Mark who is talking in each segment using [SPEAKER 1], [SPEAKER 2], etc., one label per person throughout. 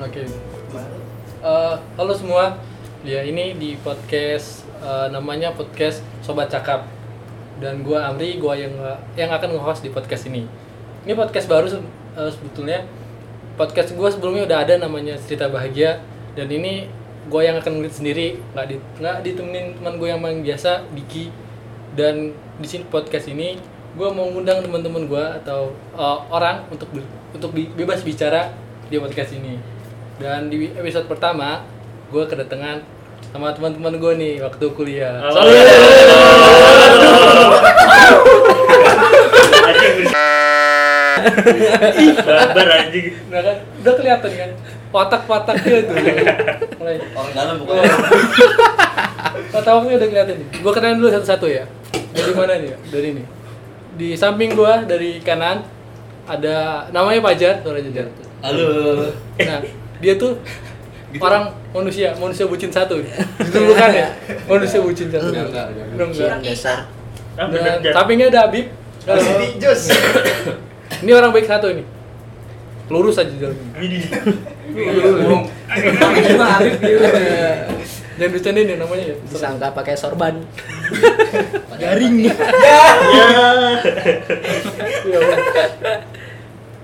[SPEAKER 1] Oke. Eh, halo semua. Ya ini di podcast eh, namanya podcast Sobat Cakap. Dan gua Amri, gua yang eh, yang akan nge-host di podcast ini. Ini podcast baru se- eh, sebetulnya. Podcast gua sebelumnya udah ada namanya Cerita Bahagia dan ini gua yang akan ngelit sendiri, nggak di, nggak ditemenin teman gue yang paling biasa, Diki. Dan di sini podcast ini gua mau ngundang teman-teman gua atau eh, orang untuk ber- untuk bi- bebas bicara di podcast ini. Dan di episode pertama, gue kedatangan sama teman-teman gue nih waktu kuliah.
[SPEAKER 2] anjing berisik. Barbar anjing.
[SPEAKER 1] Nah kan, udah kelihatan kan, watak-wataknya tuh. Mulai.
[SPEAKER 3] Orang dalam
[SPEAKER 4] Oh.
[SPEAKER 3] bukan.
[SPEAKER 1] Watak-wataknya udah kelihatan nih. Gue kenalin dulu satu-satu ya. Dari mana nih? Dari ini. Di samping gue dari kanan ada namanya Pajar, suara jajar.
[SPEAKER 3] Halo.
[SPEAKER 1] Nah, dia tuh
[SPEAKER 3] Gitu.
[SPEAKER 1] orang manusia, manusia bucin satu. Ditentukan ya, manusia bucin satu.
[SPEAKER 3] Enggak, enggak, enggak.
[SPEAKER 1] Udah
[SPEAKER 5] Iya.
[SPEAKER 1] enggak.
[SPEAKER 3] Dasar.
[SPEAKER 2] Ah,
[SPEAKER 1] Dan
[SPEAKER 2] bener, Jar.
[SPEAKER 1] sampingnya ada Habib. Halo.
[SPEAKER 3] jos.
[SPEAKER 1] Ini orang baik satu ini. Lurus aja jalannya.
[SPEAKER 2] Widih.
[SPEAKER 3] Tapi cuma Arif dia.
[SPEAKER 1] Jangan bercandain ya namanya ya.
[SPEAKER 4] disangka pakai sorban
[SPEAKER 1] Garing.
[SPEAKER 2] Ya.
[SPEAKER 1] Iya, bener.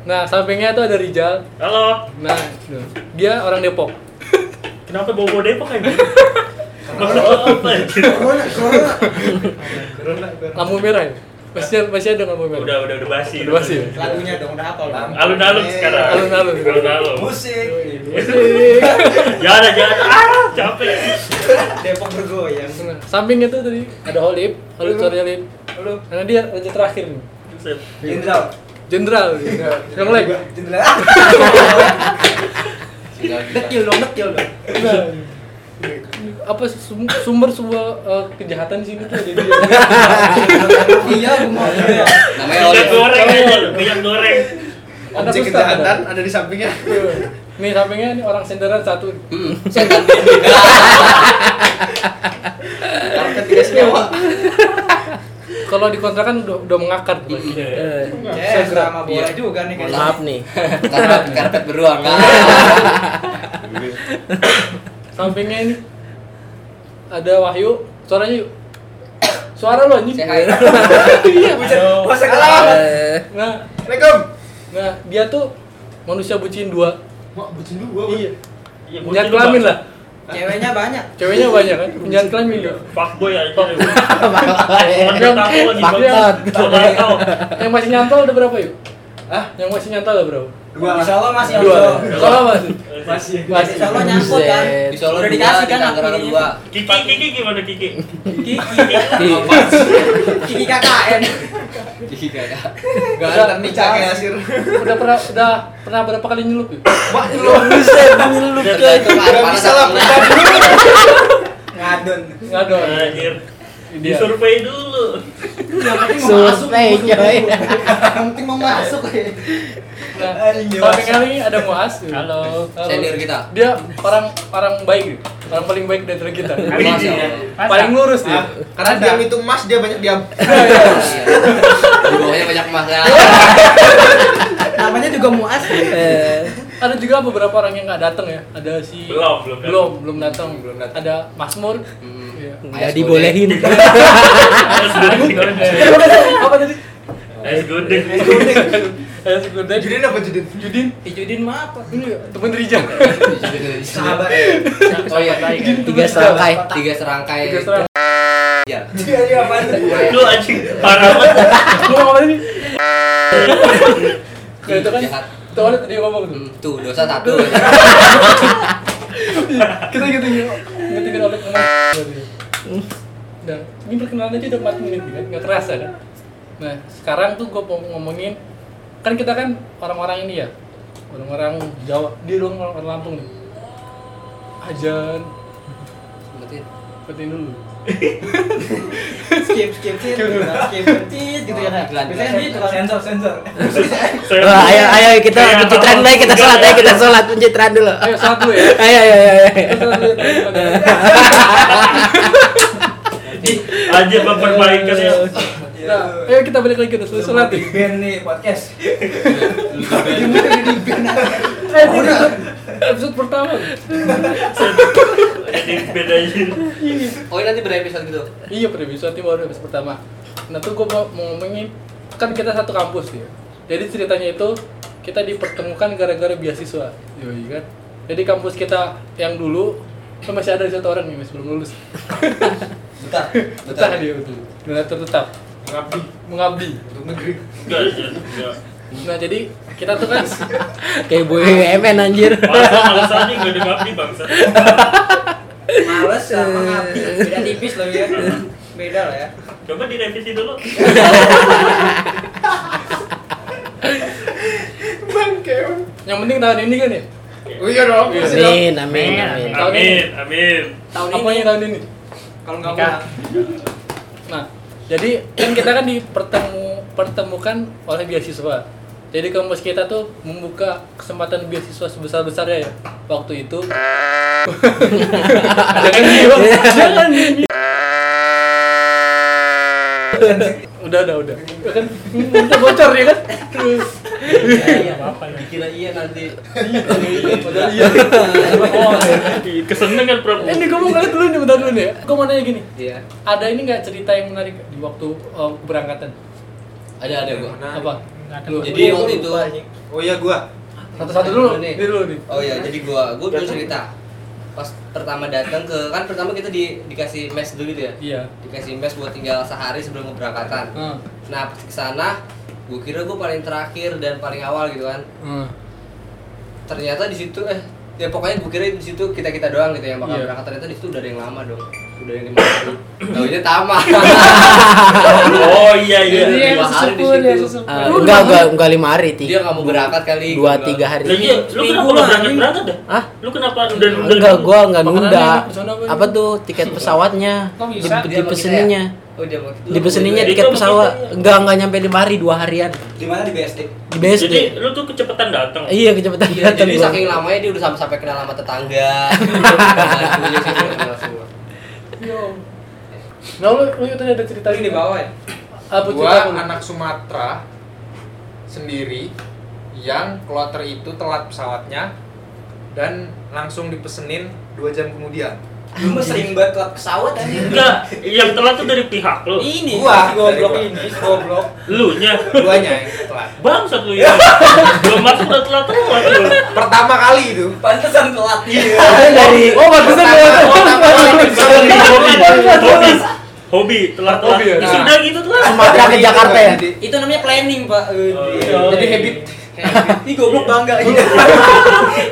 [SPEAKER 1] nah, sampingnya tuh ada Rijal.
[SPEAKER 2] Halo.
[SPEAKER 1] Nah, tuh. dia orang Depok.
[SPEAKER 2] Kenapa bobo Depok anjing? Corona apa anjing? Corona.
[SPEAKER 1] Lampu merah ya. Masih masih ada lampu merah.
[SPEAKER 2] Udah udah udah basi.
[SPEAKER 1] Udah basi ya?
[SPEAKER 5] lagunya dong udah hafal bang
[SPEAKER 2] Alun-alun sekarang.
[SPEAKER 1] Alun-alun.
[SPEAKER 2] Alun-alun.
[SPEAKER 5] musik
[SPEAKER 2] Jangan jangan. Ah, capek.
[SPEAKER 5] Depok bergoyang
[SPEAKER 1] Nah, sampingnya tuh tadi ada Holib, Holib suaranya Holib.
[SPEAKER 5] Halo.
[SPEAKER 1] Karena dia raja terakhir nih.
[SPEAKER 2] Buset.
[SPEAKER 5] jenderal
[SPEAKER 1] Jenderal. gitu. Yang lain.
[SPEAKER 5] jenderal dekil dong dekil dong
[SPEAKER 1] Nah, apa sum- sumber semua eh, kejahatan di sini tuh ada dia.
[SPEAKER 5] iya gue mau
[SPEAKER 3] Namanya
[SPEAKER 2] Minyak
[SPEAKER 3] Oli.
[SPEAKER 2] goreng aja lu, minyak goreng.
[SPEAKER 1] Ada
[SPEAKER 5] objek
[SPEAKER 1] Ustaz, ada.
[SPEAKER 5] kejahatan ada di sampingnya
[SPEAKER 1] Iya. Nih sampingnya ini orang senderan satu.
[SPEAKER 3] Hmm, setan gede.
[SPEAKER 5] karena tidak sewa
[SPEAKER 1] Kalau dikontrakan udah, udah mengakar tuh bajunya.
[SPEAKER 4] Eh,
[SPEAKER 5] ya sama
[SPEAKER 1] Iya.
[SPEAKER 5] bola juga nih
[SPEAKER 4] mohon
[SPEAKER 5] guys
[SPEAKER 4] maaf nih
[SPEAKER 3] Karpet karpet beruang. Ah.
[SPEAKER 1] Sampingnya ini ada Wahyu, suaranya yuk. Suara lu anjing.
[SPEAKER 3] Say hi.
[SPEAKER 5] masa kalah
[SPEAKER 4] Eh,
[SPEAKER 1] Nah,
[SPEAKER 5] assalamualaikum
[SPEAKER 1] nah dia tuh manusia bucin dua.
[SPEAKER 5] mak bucin lu gua
[SPEAKER 1] Iya.
[SPEAKER 2] Iya,
[SPEAKER 1] Penjahat
[SPEAKER 2] bucin lu,
[SPEAKER 1] kelamin
[SPEAKER 2] Bang.
[SPEAKER 1] lah.
[SPEAKER 5] ceweknya banyak
[SPEAKER 1] Ceweknya banyak kan? Penjahat kelamin dia.
[SPEAKER 2] Fuckboy anjing.
[SPEAKER 4] Eh,
[SPEAKER 1] Yang-
[SPEAKER 2] Orang tahu lagi
[SPEAKER 1] yang-
[SPEAKER 2] banget. Orang tahu.
[SPEAKER 1] Yang masih nyantol ada berapa yuk?
[SPEAKER 5] Hah?
[SPEAKER 1] Yang masih nyantol ada berapa?
[SPEAKER 5] dua insya Allah masih
[SPEAKER 1] Dua.
[SPEAKER 5] ada.
[SPEAKER 1] Kalau masih.
[SPEAKER 2] Masih.
[SPEAKER 1] Masih.
[SPEAKER 5] insya Allah nyangkut kan
[SPEAKER 4] Buset.
[SPEAKER 3] Di Solo
[SPEAKER 5] Udah
[SPEAKER 3] dua, di
[SPEAKER 5] dikasih kan
[SPEAKER 3] Tangerang
[SPEAKER 5] apinya.
[SPEAKER 3] dua.
[SPEAKER 2] Kiki Kiki gimana Kiki?
[SPEAKER 5] kiki
[SPEAKER 4] Di-
[SPEAKER 5] kiki KKN
[SPEAKER 3] Jadi kayak
[SPEAKER 5] gak
[SPEAKER 1] ada,
[SPEAKER 5] nih cakep
[SPEAKER 3] ya.
[SPEAKER 5] asir
[SPEAKER 1] Udah pernah udah pernah berapa kali nyelup yuk?
[SPEAKER 5] mak lu gak bisa lah
[SPEAKER 3] Iya.
[SPEAKER 5] ngadon
[SPEAKER 1] Enggak dong.
[SPEAKER 2] Anjir.
[SPEAKER 1] Dia.
[SPEAKER 2] Disurvei dulu.
[SPEAKER 5] yang penting mau masuk
[SPEAKER 4] survei coy
[SPEAKER 5] yang penting mau masuk ya
[SPEAKER 1] Nah,
[SPEAKER 5] Anjing dewasa.
[SPEAKER 1] samping kali ini ada Muas. Halo.
[SPEAKER 3] Senior kita.
[SPEAKER 1] Dia orang orang baik, gitu. orang paling baik dari antara kita.
[SPEAKER 3] Masya Allah.
[SPEAKER 1] paling lurus
[SPEAKER 6] Ah,
[SPEAKER 1] dia.
[SPEAKER 5] Ah, karena diam itu emas dia banyak diam
[SPEAKER 3] Iya. Di bawahnya banyak ya. masalah.
[SPEAKER 5] namanya juga muas
[SPEAKER 4] Eh,
[SPEAKER 1] Ada juga beberapa orang yang nggak datang ya. Ada si
[SPEAKER 2] Belum, belum datang.
[SPEAKER 1] belum belum datang.
[SPEAKER 5] Belum datang.
[SPEAKER 1] Ada Masmur.
[SPEAKER 3] Hmm.
[SPEAKER 1] Iya.
[SPEAKER 4] nggak dibolehin
[SPEAKER 2] Harus duduk.
[SPEAKER 1] Apa tadi?
[SPEAKER 2] Es gudeg.
[SPEAKER 1] Eh, si Gordon.
[SPEAKER 5] Judin apa Judin?
[SPEAKER 1] Judin.
[SPEAKER 5] Ih, Judin mah apa?
[SPEAKER 1] Ini temen Rijal.
[SPEAKER 3] Iya,
[SPEAKER 5] Sahabat.
[SPEAKER 3] Oh iya.
[SPEAKER 4] tiga serangkai
[SPEAKER 3] Tiga
[SPEAKER 5] Eh,
[SPEAKER 3] serangkai.
[SPEAKER 1] Tiga serang.
[SPEAKER 3] Iya.
[SPEAKER 5] Dia dia apaan?
[SPEAKER 2] Lu anjing parah banget.
[SPEAKER 1] Lu apa tadi? Ya, itu kan.
[SPEAKER 3] Jahat.
[SPEAKER 1] Itu kan tadi ngomong tuh.
[SPEAKER 3] Hmm, Tuh dosa satu.
[SPEAKER 1] kita gitu gitu ngerti oleh teman. nah ini perkenalan aja udah 4 menit kan nggak kerasa kan nah sekarang tuh gue mau ngomongin kan kita kan orang-orang ini ya orang-orang Jawa di ruang orang Lampung nih ajan
[SPEAKER 3] Berarti
[SPEAKER 1] petin dulu
[SPEAKER 5] Skip skip skip skip skip gitu ya kan.
[SPEAKER 3] Pelan,
[SPEAKER 5] Biasanya
[SPEAKER 3] pelan.
[SPEAKER 5] gitu kan. Sensor sensor.
[SPEAKER 2] Saya-
[SPEAKER 4] Wah, ayo ayo kita
[SPEAKER 2] Saya
[SPEAKER 4] pencitraan
[SPEAKER 2] tahu.
[SPEAKER 4] baik kita
[SPEAKER 2] Enggak,
[SPEAKER 4] sholat ayo
[SPEAKER 2] ya.
[SPEAKER 4] kita sholat pencitraan dulu
[SPEAKER 1] ayo saat dulu ya
[SPEAKER 4] ayo ayo ayo ayo.
[SPEAKER 1] Terus lihat lagi pada-
[SPEAKER 2] Anjir mempermainkan ya.
[SPEAKER 1] Nah, ayo kita balik lagi ke udah
[SPEAKER 5] Surat
[SPEAKER 1] surat.
[SPEAKER 5] di band nih podcast.
[SPEAKER 1] Eh,
[SPEAKER 3] Oh,
[SPEAKER 1] ini episode, episode pertama.
[SPEAKER 2] Jadi bedain.
[SPEAKER 3] Oh ini nanti berepisode gitu.
[SPEAKER 1] Iya, per episode ini baru episode pertama. Nah, tuh gue mau mau ngomongin kan kita satu kampus ya. Jadi ceritanya itu kita dipertemukan gara-gara beasiswa. Yoi kan. Jadi kampus kita yang dulu kan masih ada satu orang nih sebelum lulus.
[SPEAKER 3] Betah.
[SPEAKER 1] Betah dia ya, betul. Donatur tetap
[SPEAKER 5] Ngabdi
[SPEAKER 1] mengabdi.
[SPEAKER 5] untuk negeri.
[SPEAKER 2] Enggak, enggak.
[SPEAKER 1] Nah, jadi kita tuh kan
[SPEAKER 4] Kayak BUMN anjir.
[SPEAKER 2] Bangsa, bangsa nih enggak ada ngabdi bangsa.
[SPEAKER 5] Males sama ngabdi. Beda tipis loh ya. Beda lah ya.
[SPEAKER 2] Coba direvisi dulu.
[SPEAKER 1] yang penting tahun ini kan ya.
[SPEAKER 5] Oh iya dong.
[SPEAKER 4] Amin, amin, amin.
[SPEAKER 2] Amin, amin.
[SPEAKER 5] Tahun
[SPEAKER 1] Apa
[SPEAKER 5] ini
[SPEAKER 1] yang tahun ini?
[SPEAKER 5] kalau nggak
[SPEAKER 1] Nikah.
[SPEAKER 5] pulang.
[SPEAKER 1] Nah, jadi kan kita kan dipertemu pertemukan oleh beasiswa. Jadi kampus kita tuh membuka kesempatan beasiswa sebesar besarnya ya waktu itu. jangan nih, Bang. jangan nih. udah udah udah Ya kan kita bocor ya kan terus
[SPEAKER 3] Iya,
[SPEAKER 2] apa-apa ya.
[SPEAKER 3] Dikira iya nanti.
[SPEAKER 1] Padahal iya
[SPEAKER 2] Oh, keseneng kan Prabu.
[SPEAKER 1] Eh, ini gue mau ngeliat dulu nih bentar dulu nih ya gue mau nanya gini
[SPEAKER 3] Iya.
[SPEAKER 1] ada ini nggak cerita yang menarik di waktu uh, keberangkatan
[SPEAKER 3] Ada ada gua.
[SPEAKER 1] apa Lu-
[SPEAKER 3] Jadi waktu itu
[SPEAKER 5] Oh iya gua.
[SPEAKER 1] satu-satu dulu
[SPEAKER 3] Ini.
[SPEAKER 1] ini dulu nih
[SPEAKER 3] Oh iya, jadi gua gua dulu cerita. Pas pertama datang ke kan pertama kita di dikasih mes dulu tuh ya.
[SPEAKER 1] iya Hmm.
[SPEAKER 3] Dikasih mes buat tinggal sehari sebelum keberangkatan.
[SPEAKER 1] Heeh.
[SPEAKER 3] Nah, ke sana gua kira gua paling terakhir dan paling awal gitu kan.
[SPEAKER 1] Heeh.
[SPEAKER 3] Ternyata di situ eh ya pokoknya gua kira di situ kita-kita doang gitu yang bakal
[SPEAKER 1] Iya.
[SPEAKER 3] berangkat. Ternyata di situ udah ada yang lama dong. Udah yang lima hari. Taunya tamat.
[SPEAKER 2] Oh iya iya.
[SPEAKER 1] Jadi yang
[SPEAKER 3] Dua hari di
[SPEAKER 1] sesepuluh,
[SPEAKER 3] situ.
[SPEAKER 1] yang sesepuluh.
[SPEAKER 4] Ah, enggak,
[SPEAKER 1] iya.
[SPEAKER 4] enggak, enggak lima hari,
[SPEAKER 3] Dia
[SPEAKER 4] tiga,
[SPEAKER 3] nggak mau berangkat kali.
[SPEAKER 4] dua,
[SPEAKER 3] Gua bilang.
[SPEAKER 4] tiga hari.
[SPEAKER 2] Lagi lu kenapa
[SPEAKER 1] Minggu
[SPEAKER 2] lu
[SPEAKER 1] lah,
[SPEAKER 2] berangkat
[SPEAKER 1] ini.
[SPEAKER 2] berangkat dah?
[SPEAKER 4] Hah?
[SPEAKER 2] Lu kenapa udah udah?
[SPEAKER 4] Enggak, gua enggak
[SPEAKER 1] Makanannya
[SPEAKER 4] nunda.
[SPEAKER 1] enak, pesan apa ya?
[SPEAKER 4] Apa tuh tiket pesawatnya?
[SPEAKER 5] Kok
[SPEAKER 4] Di,
[SPEAKER 5] bisa?
[SPEAKER 4] di
[SPEAKER 3] Dia sama kita
[SPEAKER 4] peseninya.
[SPEAKER 3] ya? Oh, dia sama kita.
[SPEAKER 5] gitu.
[SPEAKER 4] Di
[SPEAKER 1] Iya.
[SPEAKER 4] peseninya
[SPEAKER 2] Jadi
[SPEAKER 4] tiket
[SPEAKER 2] kamu
[SPEAKER 4] pesawat.
[SPEAKER 2] kita-
[SPEAKER 4] Enggak, enggak nyampe lima hari, dua harian.
[SPEAKER 5] Di mana di BSD?
[SPEAKER 4] Di BSD.
[SPEAKER 2] Jadi lu tuh kecepatan datang.
[SPEAKER 4] Iya, kecepatan
[SPEAKER 3] Iya,
[SPEAKER 4] datang
[SPEAKER 3] jadi
[SPEAKER 4] gua.
[SPEAKER 3] saking lamanya dia udah sampai sampai kenal sama tetangga. Bantunya sih, dia kenal semua.
[SPEAKER 1] Yo. Nah, lu lu itu ada cerita
[SPEAKER 5] Tadi di bawah ya.
[SPEAKER 1] Apa cerita
[SPEAKER 7] gua
[SPEAKER 1] lu?
[SPEAKER 7] anak Sumatera sendiri yang kloter itu telat pesawatnya dan langsung dipesenin dua jam kemudian
[SPEAKER 5] Lu mah sering banget telat pesawat aja.
[SPEAKER 2] Enggak, yang telat tuh dari pihak lu.
[SPEAKER 6] Iya.
[SPEAKER 5] Ini
[SPEAKER 7] Gua.
[SPEAKER 5] si goblok ini, si goblok.
[SPEAKER 2] Lu nya.
[SPEAKER 7] duanya yang Eh, telat
[SPEAKER 2] Bangsat lu ya. Belum masuk udah telat telat lu.
[SPEAKER 7] pertama kali itu
[SPEAKER 5] Pantesan telat. Iya.
[SPEAKER 4] Ada dari
[SPEAKER 1] Oh, pantesan
[SPEAKER 7] pertama,
[SPEAKER 1] ya.
[SPEAKER 7] pertama kali
[SPEAKER 1] Iya,
[SPEAKER 2] Hobi,
[SPEAKER 7] dipesenin.
[SPEAKER 2] hobi, hobi. Hobi, telat telat.
[SPEAKER 1] Hobi ya?
[SPEAKER 2] Ya sudah gitu telat.
[SPEAKER 4] Sumatera ke
[SPEAKER 7] Jadi,
[SPEAKER 4] Jakarta ya?
[SPEAKER 7] jadi-
[SPEAKER 5] Itu namanya planning, Pak. Eh,
[SPEAKER 2] Oh,
[SPEAKER 5] dia.
[SPEAKER 2] iya.
[SPEAKER 7] jadi habit
[SPEAKER 5] Ini goblok
[SPEAKER 3] Iya.
[SPEAKER 5] bangga gitu.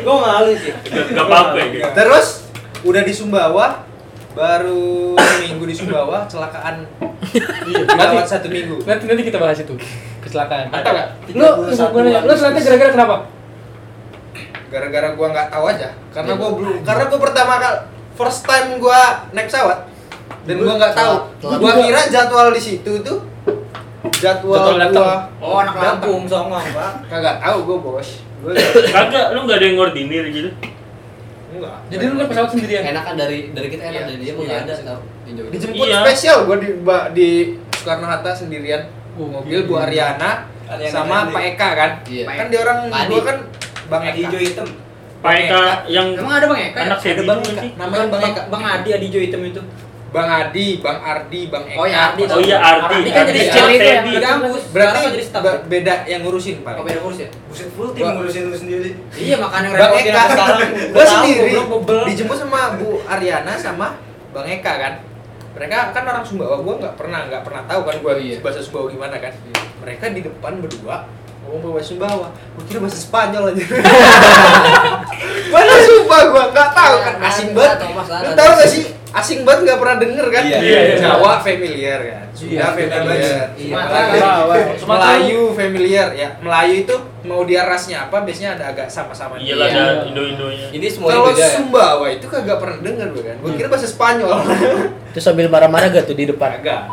[SPEAKER 5] Gua malu sih.
[SPEAKER 2] Enggak enggak apa-apa ya.
[SPEAKER 7] terus udah di Sumbawa baru minggu di Sumbawa kecelakaan lewat satu minggu
[SPEAKER 1] Nanti nanti kita bahas itu. Kecelakaan.
[SPEAKER 7] Mantap nggak?
[SPEAKER 1] Lu lu gua nanya, lu telatnya gara-gara kenapa?
[SPEAKER 7] gara-gara gua nggak tahu aja karena gua belum karena gua pertama kali first time gua naik pesawat dan gua nggak tahu
[SPEAKER 3] Telat.
[SPEAKER 7] gua kira jadwal di situ tuh
[SPEAKER 1] Jadwal
[SPEAKER 7] jadwal
[SPEAKER 1] datang.
[SPEAKER 7] gua
[SPEAKER 5] Oh, anak
[SPEAKER 7] datang.
[SPEAKER 5] kampung songong, Pak.
[SPEAKER 7] kagak tahu gua bos gua
[SPEAKER 2] Kagak, lu enggak ada yang ngordinir gitu.
[SPEAKER 7] enggak
[SPEAKER 1] Jadi lu naik pesawat sendirian.
[SPEAKER 3] Enak kan dari dari kita enak
[SPEAKER 7] Iya,
[SPEAKER 3] dari dia mah nggak ada tau.
[SPEAKER 7] dijemput
[SPEAKER 2] Iya.
[SPEAKER 7] spesial gua di ba- di Soekarno Hatta sendirian mobil Bu Ariana
[SPEAKER 5] Ariana
[SPEAKER 7] sama
[SPEAKER 5] Grande.
[SPEAKER 7] Pak Eka kan
[SPEAKER 3] Iya.
[SPEAKER 7] kan dia orang
[SPEAKER 3] Padi.
[SPEAKER 7] gua kan Bang
[SPEAKER 5] Bang Adi
[SPEAKER 7] Eka
[SPEAKER 5] hijau hitam.
[SPEAKER 2] Pak Eka yang
[SPEAKER 5] Emang ada Bang Eka? ya?
[SPEAKER 2] anak saya
[SPEAKER 5] Ada
[SPEAKER 2] itu
[SPEAKER 5] Bang
[SPEAKER 2] sih.
[SPEAKER 7] namanya Bang Eka
[SPEAKER 5] Bang Adi Adi hijau hitam itu.
[SPEAKER 7] Bang Adi Bang Ardi Bang Eka
[SPEAKER 5] Oh ya, Ardi.
[SPEAKER 2] Oh iya Ardi,
[SPEAKER 5] Ardi kan jadi
[SPEAKER 2] Ardi,
[SPEAKER 5] kecil itu ya.
[SPEAKER 2] Ardi.
[SPEAKER 5] Di kampus.
[SPEAKER 7] berarti
[SPEAKER 5] Sekarang kan jadi staff.
[SPEAKER 7] be- beda yang ngurusin Pak
[SPEAKER 5] Oh, beda kursi ya? Buset, full
[SPEAKER 7] Gua-
[SPEAKER 5] ngurusin lu sendiri. Iya, makanya
[SPEAKER 7] Bang
[SPEAKER 5] repotin
[SPEAKER 3] ya.
[SPEAKER 7] Eka
[SPEAKER 5] aku sekarang.
[SPEAKER 7] gue sendiri
[SPEAKER 5] Goblok bebel.
[SPEAKER 7] dijemput sama Bu Ariana sama Bang Eka kan mereka kan orang Sumbawa gue nggak pernah nggak pernah tahu kan gue
[SPEAKER 3] Oh, iya.
[SPEAKER 7] bahasa Sumbawa gimana kan mereka di depan berdua ngomong bahasa Sumbawa gue kira bahasa Spanyol aja mana Sumba gue nggak tahu kan
[SPEAKER 3] Iya,
[SPEAKER 7] asing banget lu tahu gak sih asing banget nggak pernah denger kan
[SPEAKER 3] Iya.
[SPEAKER 2] Iya.
[SPEAKER 7] Jawa familiar kan Sunda familiar
[SPEAKER 3] Iya.
[SPEAKER 1] Iya, Sumatera.
[SPEAKER 7] Melayu familiar ya Melayu itu mau dia rasnya apa biasanya ada agak sama-sama
[SPEAKER 2] Iya lah
[SPEAKER 3] Iya.
[SPEAKER 2] ada Indo-Indonya.
[SPEAKER 3] Ini semuanya
[SPEAKER 7] kalau
[SPEAKER 3] beda ya.
[SPEAKER 7] Sumbawa itu kagak pernah denger gue kan. Gue kira bahasa Spanyol.
[SPEAKER 4] Terus sambil marah-marah gak tuh di depan?
[SPEAKER 7] Kagak.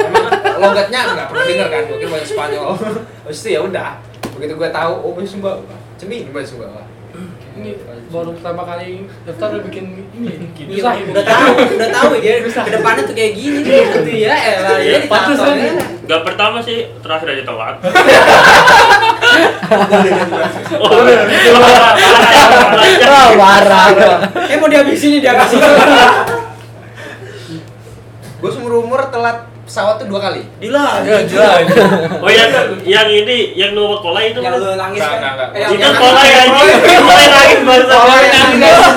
[SPEAKER 7] Emang logatnya nggak pernah denger kan. Gue kira bahasa Spanyol. Habis itu ya udah. Begitu gue tahu oh bahasa Sumbawa. Cemil bahasa Sumbawa.
[SPEAKER 1] ini baru pertama kali daftar udah bikin ini
[SPEAKER 5] Iya,
[SPEAKER 1] susah
[SPEAKER 5] udah tahu, udah tahu dia kedepannya tuh kayak gini dia gitu ya, elah
[SPEAKER 2] Iya,
[SPEAKER 5] ya
[SPEAKER 1] pantesan.
[SPEAKER 5] ditampangnya.
[SPEAKER 2] Gak pertama sih, terakhir aja telat. Oh,
[SPEAKER 4] Wah, marah.
[SPEAKER 5] Eh mau dihabisin nih dihabisin.
[SPEAKER 7] Gue seumur umur telat pesawat tuh dua kali.
[SPEAKER 5] Dila,
[SPEAKER 1] ya jelas
[SPEAKER 2] Oh yang yang ini yang lu kolai itu
[SPEAKER 5] Yang lu nangis
[SPEAKER 8] Enggak, enggak,
[SPEAKER 5] kan?
[SPEAKER 8] enggak.
[SPEAKER 5] Eh, yang-
[SPEAKER 2] Itu
[SPEAKER 5] yang-
[SPEAKER 2] kolai aja. Kolai nangis bahasa kolai nangis.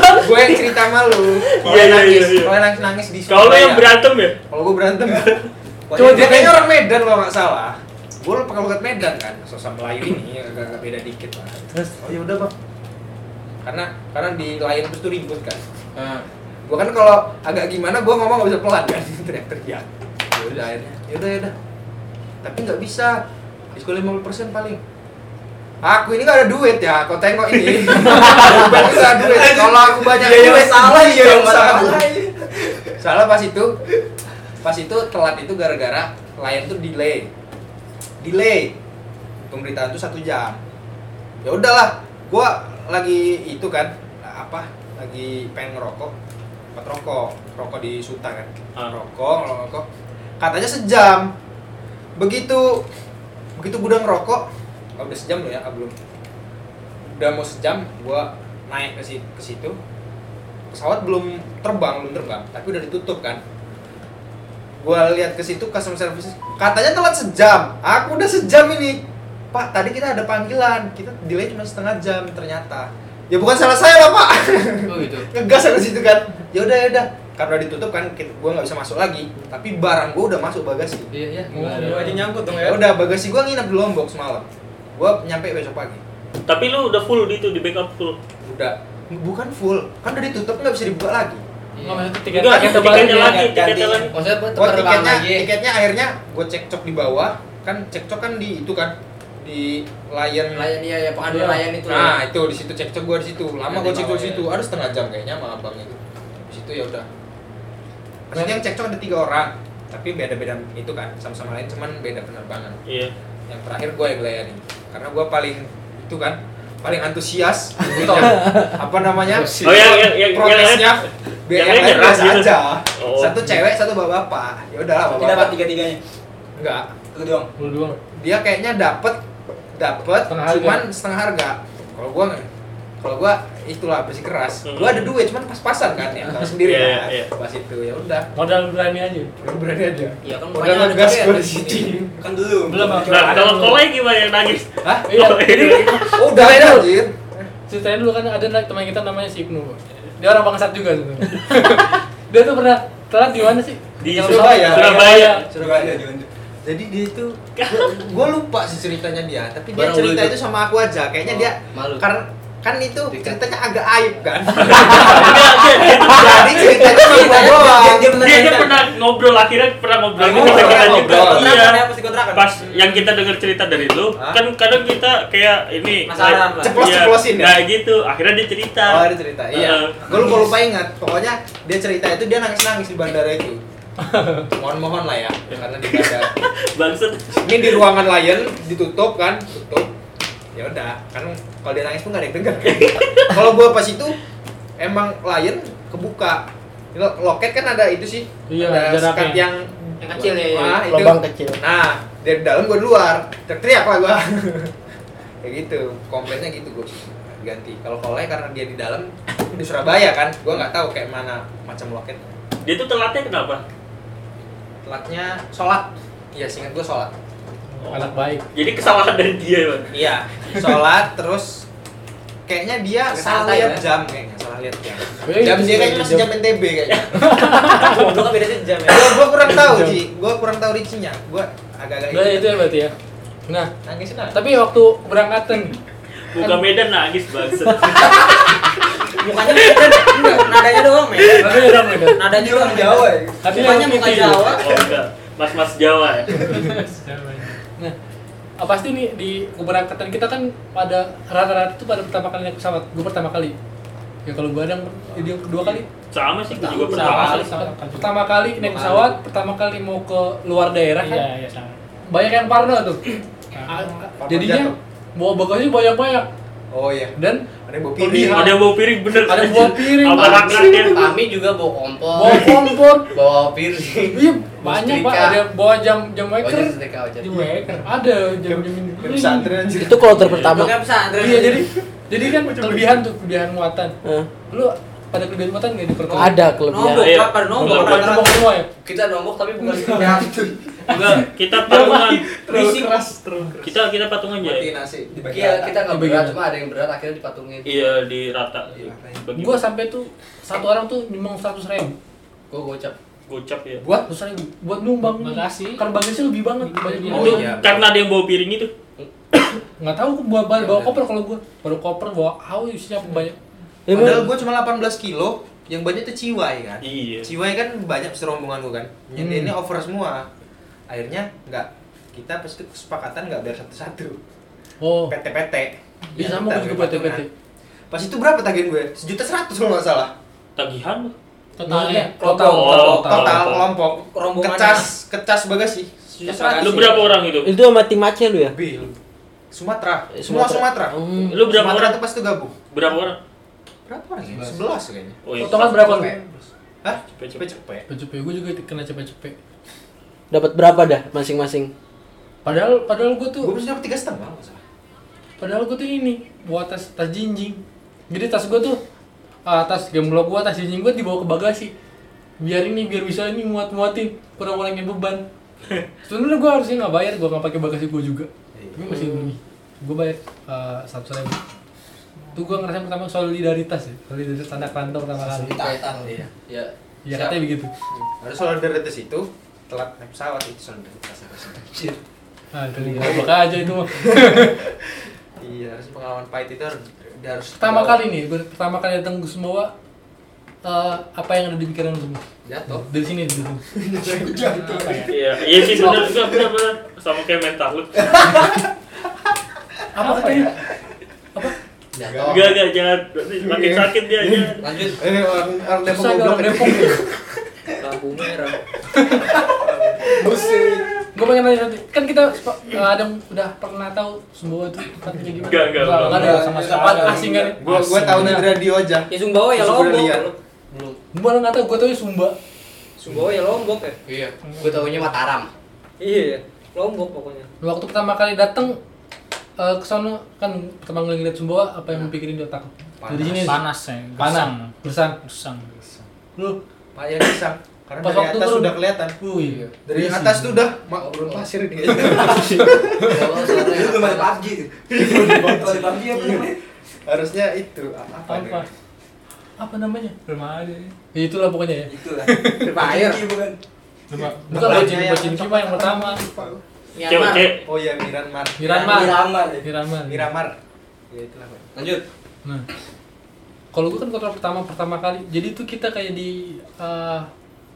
[SPEAKER 7] gue yang cerita malu.
[SPEAKER 2] Iya,
[SPEAKER 7] Gue
[SPEAKER 2] iya,
[SPEAKER 7] nangis,
[SPEAKER 2] iya, iya.
[SPEAKER 7] gue nangis nangis di
[SPEAKER 2] Kalau lu
[SPEAKER 7] Surabaya.
[SPEAKER 2] yang berantem ya?
[SPEAKER 7] Kalau gue berantem.
[SPEAKER 5] Coba
[SPEAKER 7] Coba dia kayaknya orang Medan kalau nggak salah. Gue lupa kalau bukan Medan kan, sosok Melayu ini agak-agak beda dikit lah. Terus, oh ya udah bang. Karena karena di lain terus tuh ribut kan.
[SPEAKER 1] Ah,
[SPEAKER 7] Gue kan kalau agak gimana gue ngomong nggak bisa pelan kan, teriak-teriak. Ya udah akhirnya, ya udah ya udah. Tapi nggak bisa. Diskon 50% paling. Aku ini gak ada duit ya, kau tengok ini. Berarti gak ada duit. Kalau aku banyak duit, salah ya yang salah. Salah pas itu, pas itu telat itu gara-gara klien tuh delay, delay. Pemberitaan tuh satu jam. Ya udahlah, gua lagi itu kan apa? Lagi pengen ngerokok, tempat rokok, rokok di Suta kan.
[SPEAKER 2] Ah.
[SPEAKER 7] Rokok, ngerokok. Katanya sejam. Begitu begitu gudang rokok, oh, udah sejam loh ya, ah, belum. Udah mau sejam, gua naik ke situ, ke situ. Pesawat belum terbang, belum terbang, tapi udah ditutup kan gua lihat ke situ customer service katanya telat sejam aku udah sejam ini pak tadi kita ada panggilan kita delay cuma setengah jam ternyata ya bukan salah saya lah pak
[SPEAKER 1] oh gitu
[SPEAKER 7] ngegas aku situ kan ya udah ya udah karena udah ditutup kan kita- gua nggak bisa masuk lagi tapi barang gua udah masuk bagasi
[SPEAKER 1] iya iya
[SPEAKER 5] Lu aja nyangkut dong
[SPEAKER 7] ya
[SPEAKER 5] ya.
[SPEAKER 7] udah bagasi gua nginep di lombok semalam gua nyampe besok pagi
[SPEAKER 2] Tapi lu udah full di itu di backup full.
[SPEAKER 7] udah bukan full kan udah ditutup nggak bisa dibuka lagi
[SPEAKER 1] nggak maksudnya tiket
[SPEAKER 2] Enggak,
[SPEAKER 1] tiket
[SPEAKER 2] tiketnya
[SPEAKER 1] tebalnya
[SPEAKER 2] lagi, tiketnya
[SPEAKER 5] ganti.
[SPEAKER 2] lagi.
[SPEAKER 3] maksudnya
[SPEAKER 7] Gua
[SPEAKER 3] tukar ulang
[SPEAKER 7] tiketnya,
[SPEAKER 3] lagi
[SPEAKER 7] tiketnya akhirnya gue cekcok di bawah kan cekcok kan di itu kan di layan
[SPEAKER 3] layan iya ya pengadu layan itu
[SPEAKER 7] nah itu di situ cekcok gue di situ lama
[SPEAKER 3] Nanti
[SPEAKER 7] gue cekcok
[SPEAKER 3] bawah,
[SPEAKER 7] di iya.
[SPEAKER 3] ya.
[SPEAKER 7] situ ada setengah jam kayaknya sama abang itu di situ ya udah maksudnya yang cekcok ada tiga orang tapi beda-beda itu kan sama-sama lain cuman beda penerbangan
[SPEAKER 2] Iya.
[SPEAKER 7] yang terakhir gue yang layanin karena gue paling itu kan paling antusias Gitu. apa namanya
[SPEAKER 2] Oh yang yang yang
[SPEAKER 7] protesnya biar yang lain
[SPEAKER 2] nyerah
[SPEAKER 7] biasa
[SPEAKER 2] gitu.
[SPEAKER 7] aja
[SPEAKER 2] Oh.
[SPEAKER 7] satu cewek satu bapak-bapak ya udahlah
[SPEAKER 5] Tidak dapat
[SPEAKER 7] bapak-bapak
[SPEAKER 5] tiga-tiganya.
[SPEAKER 7] enggak
[SPEAKER 5] Lu doang.
[SPEAKER 1] lu doang
[SPEAKER 7] dia kayaknya dapat dapat
[SPEAKER 1] Setengah harga.
[SPEAKER 7] cuman setengah harga kalau gua nggak- kalau gua itulah besi keras
[SPEAKER 2] Hmm.
[SPEAKER 7] gua ada duit cuman pas-pasan kan ya tahu sendiri
[SPEAKER 2] Iya,
[SPEAKER 7] lah.
[SPEAKER 2] iya.
[SPEAKER 7] pas itu ya udah
[SPEAKER 1] modal berani aja
[SPEAKER 7] Gua berani aja
[SPEAKER 5] Iya kan
[SPEAKER 7] udah
[SPEAKER 5] makanya ada
[SPEAKER 7] ngegas
[SPEAKER 5] tiga
[SPEAKER 7] gua
[SPEAKER 5] ya.
[SPEAKER 7] di sini
[SPEAKER 5] Kan belum.
[SPEAKER 1] belum aku
[SPEAKER 2] Nah, kalau kolai gimana yang nangis?
[SPEAKER 7] hah
[SPEAKER 1] iya jadi
[SPEAKER 7] oh, udah ya anjir
[SPEAKER 1] ceritanya dulu kan ada na- teman kita namanya si Ibnu dia orang bangsat juga sebenarnya dia tuh pernah telat di mana sih
[SPEAKER 2] Di
[SPEAKER 1] Yang ya?
[SPEAKER 7] Surabaya.
[SPEAKER 2] Surabaya.
[SPEAKER 5] Surabaya diunjuk.
[SPEAKER 7] jadi dia itu gua- gua lupa sih ceritanya dia tapi dia
[SPEAKER 3] Barang lu
[SPEAKER 7] cerita
[SPEAKER 3] itu. Oh.
[SPEAKER 7] itu sama aku aja kayaknya dia
[SPEAKER 3] malu
[SPEAKER 7] karena kan itu
[SPEAKER 3] Dekat.
[SPEAKER 7] ceritanya agak aib kan
[SPEAKER 2] Enggak, dia-
[SPEAKER 7] jadi ceritanya sama gua doang
[SPEAKER 5] Dia
[SPEAKER 2] dia, dia pernah ngobrol akhirnya pernah ngobrol kita
[SPEAKER 7] Oh,
[SPEAKER 2] kita
[SPEAKER 7] ngobrol,
[SPEAKER 2] juga.
[SPEAKER 7] ngobrol.
[SPEAKER 2] Iya.
[SPEAKER 5] Kontrakan ya, pasti kontrakan.
[SPEAKER 2] Pas yang kita dengar cerita dari lu,
[SPEAKER 7] Hah?
[SPEAKER 2] kan kadang kita kayak ini
[SPEAKER 5] Penasaran lah.
[SPEAKER 7] Ceplos-ceplosin ya?
[SPEAKER 2] ya. Nah, gitu. Akhirnya dia cerita.
[SPEAKER 7] Oh ada cerita,
[SPEAKER 2] Heeh.
[SPEAKER 7] iya. Gue lupa lupa ingat. Pokoknya dia cerita itu dia nangis nangis di bandara itu. Mohon mohon lah ya, karena di bandara.
[SPEAKER 2] Bangset.
[SPEAKER 7] Ini di ruangan lion ditutup kan, tutup. Ya udah, kan kalau dia nangis pun gak ada yang dengar. kan. kalau gua pas itu emang lion kebuka. Lo- Loket kan ada itu sih,
[SPEAKER 1] Iya,
[SPEAKER 7] ada
[SPEAKER 1] jaraknya.
[SPEAKER 7] sekat yang
[SPEAKER 3] yang kecil ya
[SPEAKER 7] Wah, itu.
[SPEAKER 4] Lubang kecil.
[SPEAKER 7] Nah, dari dalam gua di luar, teriak lah gua. Kayak gitu, komplainnya gitu gua ganti. Kalau kolai karena dia di dalam di Surabaya kan, gua nggak tahu kayak mana macam loket.
[SPEAKER 2] Dia tuh telatnya kenapa?
[SPEAKER 7] Telatnya sholat. Iya, singkat gua sholat.
[SPEAKER 1] Oh, anak baik
[SPEAKER 2] Jadi kesalahan dari dia, Bang.
[SPEAKER 7] Iya, sholat terus kayaknya dia
[SPEAKER 5] Agak
[SPEAKER 7] salah
[SPEAKER 5] santai
[SPEAKER 7] lihat
[SPEAKER 5] ya.
[SPEAKER 7] jam kayaknya, salah lihat jam.
[SPEAKER 1] Eh,
[SPEAKER 7] Jam
[SPEAKER 1] itu
[SPEAKER 7] dia
[SPEAKER 1] sih,
[SPEAKER 7] kayaknya masih
[SPEAKER 1] jam.
[SPEAKER 7] jam NTB kayaknya.
[SPEAKER 5] Goblok kan beda sejam ya.
[SPEAKER 7] Gua, gua kurang tahu
[SPEAKER 1] Jam.
[SPEAKER 7] sih, gua kurang tahu rincinya. Gua agak-agak
[SPEAKER 1] udah itu ya berarti ya nah
[SPEAKER 7] Nangisin lah.
[SPEAKER 1] tapi waktu berangkatan
[SPEAKER 2] Buka Medan nangis bangset.
[SPEAKER 5] Mukanya Medan, enggak, nadanya doang, men.
[SPEAKER 1] tapi udah Medan
[SPEAKER 5] Nadanya doang
[SPEAKER 7] orang Jawa ya.
[SPEAKER 1] ya? tapi
[SPEAKER 5] Mukanya muka Jawa.
[SPEAKER 2] Oh, enggak. Mas-mas Jawa ya.
[SPEAKER 1] Nah, ah, pasti nih di keberangkatan kita kan pada rata-rata itu pada pertama kali naik pesawat. Gue pertama kali. Ya kalau gue ada yang jadi yang kedua kali.
[SPEAKER 2] Sama sih, gua juga
[SPEAKER 1] Pertama
[SPEAKER 2] pertama
[SPEAKER 1] kali,
[SPEAKER 2] kali.
[SPEAKER 1] Pertama kali naik pesawat, pertama kali mau ke luar daerah kan.
[SPEAKER 8] Iya, iya sama.
[SPEAKER 1] Banyak yang parno tuh. Ah, ah,
[SPEAKER 7] Parno
[SPEAKER 1] Jadinya
[SPEAKER 7] jatuh.
[SPEAKER 1] bawa bagasi banyak-banyak.
[SPEAKER 7] Oh iya.
[SPEAKER 1] dan
[SPEAKER 7] Ada yang bawa
[SPEAKER 1] Lebih
[SPEAKER 7] piring.
[SPEAKER 2] Ada yang bawa piring bener.
[SPEAKER 1] Ada yang bawa piring.
[SPEAKER 2] Sama rakyatnya.
[SPEAKER 3] Kami juga bawa kompor,
[SPEAKER 1] bawa kompor
[SPEAKER 3] bawa piring.
[SPEAKER 1] iya banyak pak
[SPEAKER 3] Setrika.
[SPEAKER 1] ada bawa jam jam
[SPEAKER 3] Ojek
[SPEAKER 1] waker
[SPEAKER 3] setrika, ojek.
[SPEAKER 1] jam waker ada jam jam ini
[SPEAKER 7] Ke pesantren anjir.
[SPEAKER 4] Itu kalau terpertama.
[SPEAKER 5] Bukan pesantren.
[SPEAKER 1] iya jadi jadi kan kelebihan tuh kelebihan muatan
[SPEAKER 4] Eh,
[SPEAKER 1] lu ada kelebihan muatan nggak di perkenalan
[SPEAKER 4] ada
[SPEAKER 5] Nombok,
[SPEAKER 4] kelebihan.
[SPEAKER 2] Iya.
[SPEAKER 5] kapan nombok?
[SPEAKER 2] Nombok.
[SPEAKER 5] Kapan nombok?
[SPEAKER 1] nombok semua ya
[SPEAKER 3] Kita nombok tapi bukan
[SPEAKER 7] Ya, itu.
[SPEAKER 2] Enggak, kita patungan.
[SPEAKER 7] Terlalu keras, terlalu keras.
[SPEAKER 2] Kita kita patungan aja.
[SPEAKER 7] Matiin nasi. dibagi
[SPEAKER 3] Iya,
[SPEAKER 7] rata.
[SPEAKER 3] kita nggak
[SPEAKER 1] Dibagi
[SPEAKER 3] berat,
[SPEAKER 1] rata.
[SPEAKER 3] cuma ada yang berat akhirnya dipatungin.
[SPEAKER 2] Iya, di rata. Bagi
[SPEAKER 1] gua sampai tuh satu orang tuh nyumbang seratus ribu
[SPEAKER 3] Gua gocap.
[SPEAKER 2] gocap ya.
[SPEAKER 7] buat
[SPEAKER 1] seratus ribu buat nyumbang
[SPEAKER 8] Bagasi.
[SPEAKER 1] karena bagasi lebih banget banyak
[SPEAKER 8] Iya.
[SPEAKER 2] Itu
[SPEAKER 1] banget.
[SPEAKER 7] Oh, iya.
[SPEAKER 2] karena ada yang bawa piring itu.
[SPEAKER 1] nggak tahu gua bawa, bawa, bawa koper kalau gua bawa koper bawa haus isinya banyak
[SPEAKER 4] Iya, Bang.
[SPEAKER 7] Padahal gue cuma 18 kilo, yang banyak tuh ciwai kan.
[SPEAKER 2] Iya.
[SPEAKER 7] Ciwai kan banyak serombongan gue kan. Jadi ini over semua. Akhirnya nggak kita pasti kesepakatan nggak biar satu-satu.
[SPEAKER 1] oh
[SPEAKER 7] PT-PT.
[SPEAKER 1] Iya,
[SPEAKER 7] Ya,
[SPEAKER 1] sama gua
[SPEAKER 7] kita
[SPEAKER 1] juga
[SPEAKER 7] bagi
[SPEAKER 1] PT-PT.
[SPEAKER 7] patungan. Pas itu berapa tagihan gue? Sejuta seratus kalau nggak salah.
[SPEAKER 2] Iya. Tagihan lu.
[SPEAKER 8] Totalnya.
[SPEAKER 1] total total,
[SPEAKER 2] Oh,
[SPEAKER 1] total.
[SPEAKER 7] Total
[SPEAKER 2] kelompok.
[SPEAKER 7] kelompok.
[SPEAKER 5] Rombongan
[SPEAKER 7] Kecas, kecas bagasi. Sejuta seratus.
[SPEAKER 2] kan? Lu berapa orang itu?
[SPEAKER 4] Itu sama tim Aceh lu ya?
[SPEAKER 7] Lebih. Sumatera. Semua Sumatera.
[SPEAKER 4] Hmm.
[SPEAKER 2] Lu berapa
[SPEAKER 7] Sumatera
[SPEAKER 2] orang?
[SPEAKER 7] tuh pas itu gabung.
[SPEAKER 2] Berapa orang?
[SPEAKER 7] Berapa orang? ya? Sebelas kayaknya.
[SPEAKER 2] Oh iya.
[SPEAKER 1] potongan berapa lu
[SPEAKER 7] Hah?
[SPEAKER 2] Cepet-cepet.
[SPEAKER 7] Cepet-cepet.
[SPEAKER 1] cepet gua juga kena cepet-cepet
[SPEAKER 4] Dapat berapa dah masing-masing?
[SPEAKER 1] padahal padahal gua tuh
[SPEAKER 7] Gue bisa dapat tiga setengah nggak salah.
[SPEAKER 1] Padahal gue tuh ini bawa tas tas jinjing. Jadi tas gue tuh ah, tas gemblok gue, tas jinjing gue dibawa ke bagasi. Biar ini biar bisa ini muat muatin kurang kurangin beban. Sebenarnya gue harusnya nggak bayar, gue nggak pakai bagasi gue juga. Tapi masih ini, gue bayar satu ribu. Tuh gue ngerasain pertama solidaritas ya, solidaritas anak rantau pertama kali.
[SPEAKER 3] Iya. Iya.
[SPEAKER 1] Ya katanya begitu.
[SPEAKER 7] Harus solidaritas itu telat naik pesawat itu solidaritas harusnya.
[SPEAKER 1] Nah, kali bakal aja itu. mah.
[SPEAKER 7] Iya, harus pengalaman pahit itu harus harus
[SPEAKER 1] pertama kali nih, ber- pertama kali datang gue semua eh, apa yang ada di pikiran lu semua?
[SPEAKER 7] jatuh.
[SPEAKER 1] Dari sini dari sini.
[SPEAKER 7] Jatuh.
[SPEAKER 2] Iya, iya sih benar juga benar-benar sama kayak mental lu.
[SPEAKER 1] apa ya? katanya? Apa?
[SPEAKER 3] Jatuh.
[SPEAKER 2] Enggak, enggak jangan nanti makin sakit dia aja.
[SPEAKER 3] Lanjut.
[SPEAKER 7] Eh, orang orang Depok
[SPEAKER 1] Susah
[SPEAKER 7] goblok
[SPEAKER 1] orang Depok ya?
[SPEAKER 3] Lampu merah.
[SPEAKER 1] Gue pengen nanya nanti, kan kita sepa- eh, ada yang udah pernah tahu semua itu tempatnya kayak gimana?
[SPEAKER 2] Enggak, enggak,
[SPEAKER 1] Nggak,
[SPEAKER 2] belum.
[SPEAKER 1] nggak
[SPEAKER 7] Iya,
[SPEAKER 1] ada sama tempat asing kan?
[SPEAKER 7] Gua gua tahu dari radio aja.
[SPEAKER 5] Ya Sumbawa ya
[SPEAKER 7] Terus gua
[SPEAKER 5] lombok.
[SPEAKER 7] lihat.
[SPEAKER 3] Belum.
[SPEAKER 1] Gue malah nggak tahu, gue tahu Sumba.
[SPEAKER 5] Sumbawa ya lombok ya.
[SPEAKER 3] Iya. Gua taunya Mataram.
[SPEAKER 5] Iya ya. Lombok pokoknya.
[SPEAKER 1] Waktu pertama kali datang eh, ke sana kan pertama kali ngeliat Sumba apa yang pikirin di otak? Dari sini
[SPEAKER 8] Panas ya.
[SPEAKER 1] Iya. Panas. Gersang.
[SPEAKER 8] Gesang.
[SPEAKER 1] Lu
[SPEAKER 7] Pak yang pisang. Karena
[SPEAKER 1] Pas
[SPEAKER 7] dari
[SPEAKER 1] waktu
[SPEAKER 7] atas
[SPEAKER 1] turun.
[SPEAKER 7] sudah kelihatan. Iya Oh,
[SPEAKER 1] Wih.
[SPEAKER 7] Dari atas tuh udah mak belum pasir ini.
[SPEAKER 3] Kalau soalnya
[SPEAKER 7] Lu main
[SPEAKER 3] PUBG. Main PUBG apa namanya?
[SPEAKER 7] Harusnya itu apa?
[SPEAKER 1] Apa?
[SPEAKER 7] apa?
[SPEAKER 1] Apa namanya?
[SPEAKER 8] Rumah aja.
[SPEAKER 1] Ya, itulah pokoknya ya.
[SPEAKER 3] Itulah.
[SPEAKER 5] Berbayar.
[SPEAKER 1] Iya,
[SPEAKER 3] bukan.
[SPEAKER 1] Bukan
[SPEAKER 7] Namanya
[SPEAKER 1] bocin
[SPEAKER 7] yang-
[SPEAKER 1] bocin kima yang pertama.
[SPEAKER 2] Cewek,
[SPEAKER 5] Myanmar.
[SPEAKER 2] cewek.
[SPEAKER 7] Oh iya Miranmar.
[SPEAKER 1] Miranmar.
[SPEAKER 3] Miramar.
[SPEAKER 1] Miraman.
[SPEAKER 7] Miramar. Ya itulah. Pak.
[SPEAKER 3] Lanjut.
[SPEAKER 1] Nah, kalau gue kan kotor pertama pertama kali, jadi itu kita kayak di eh,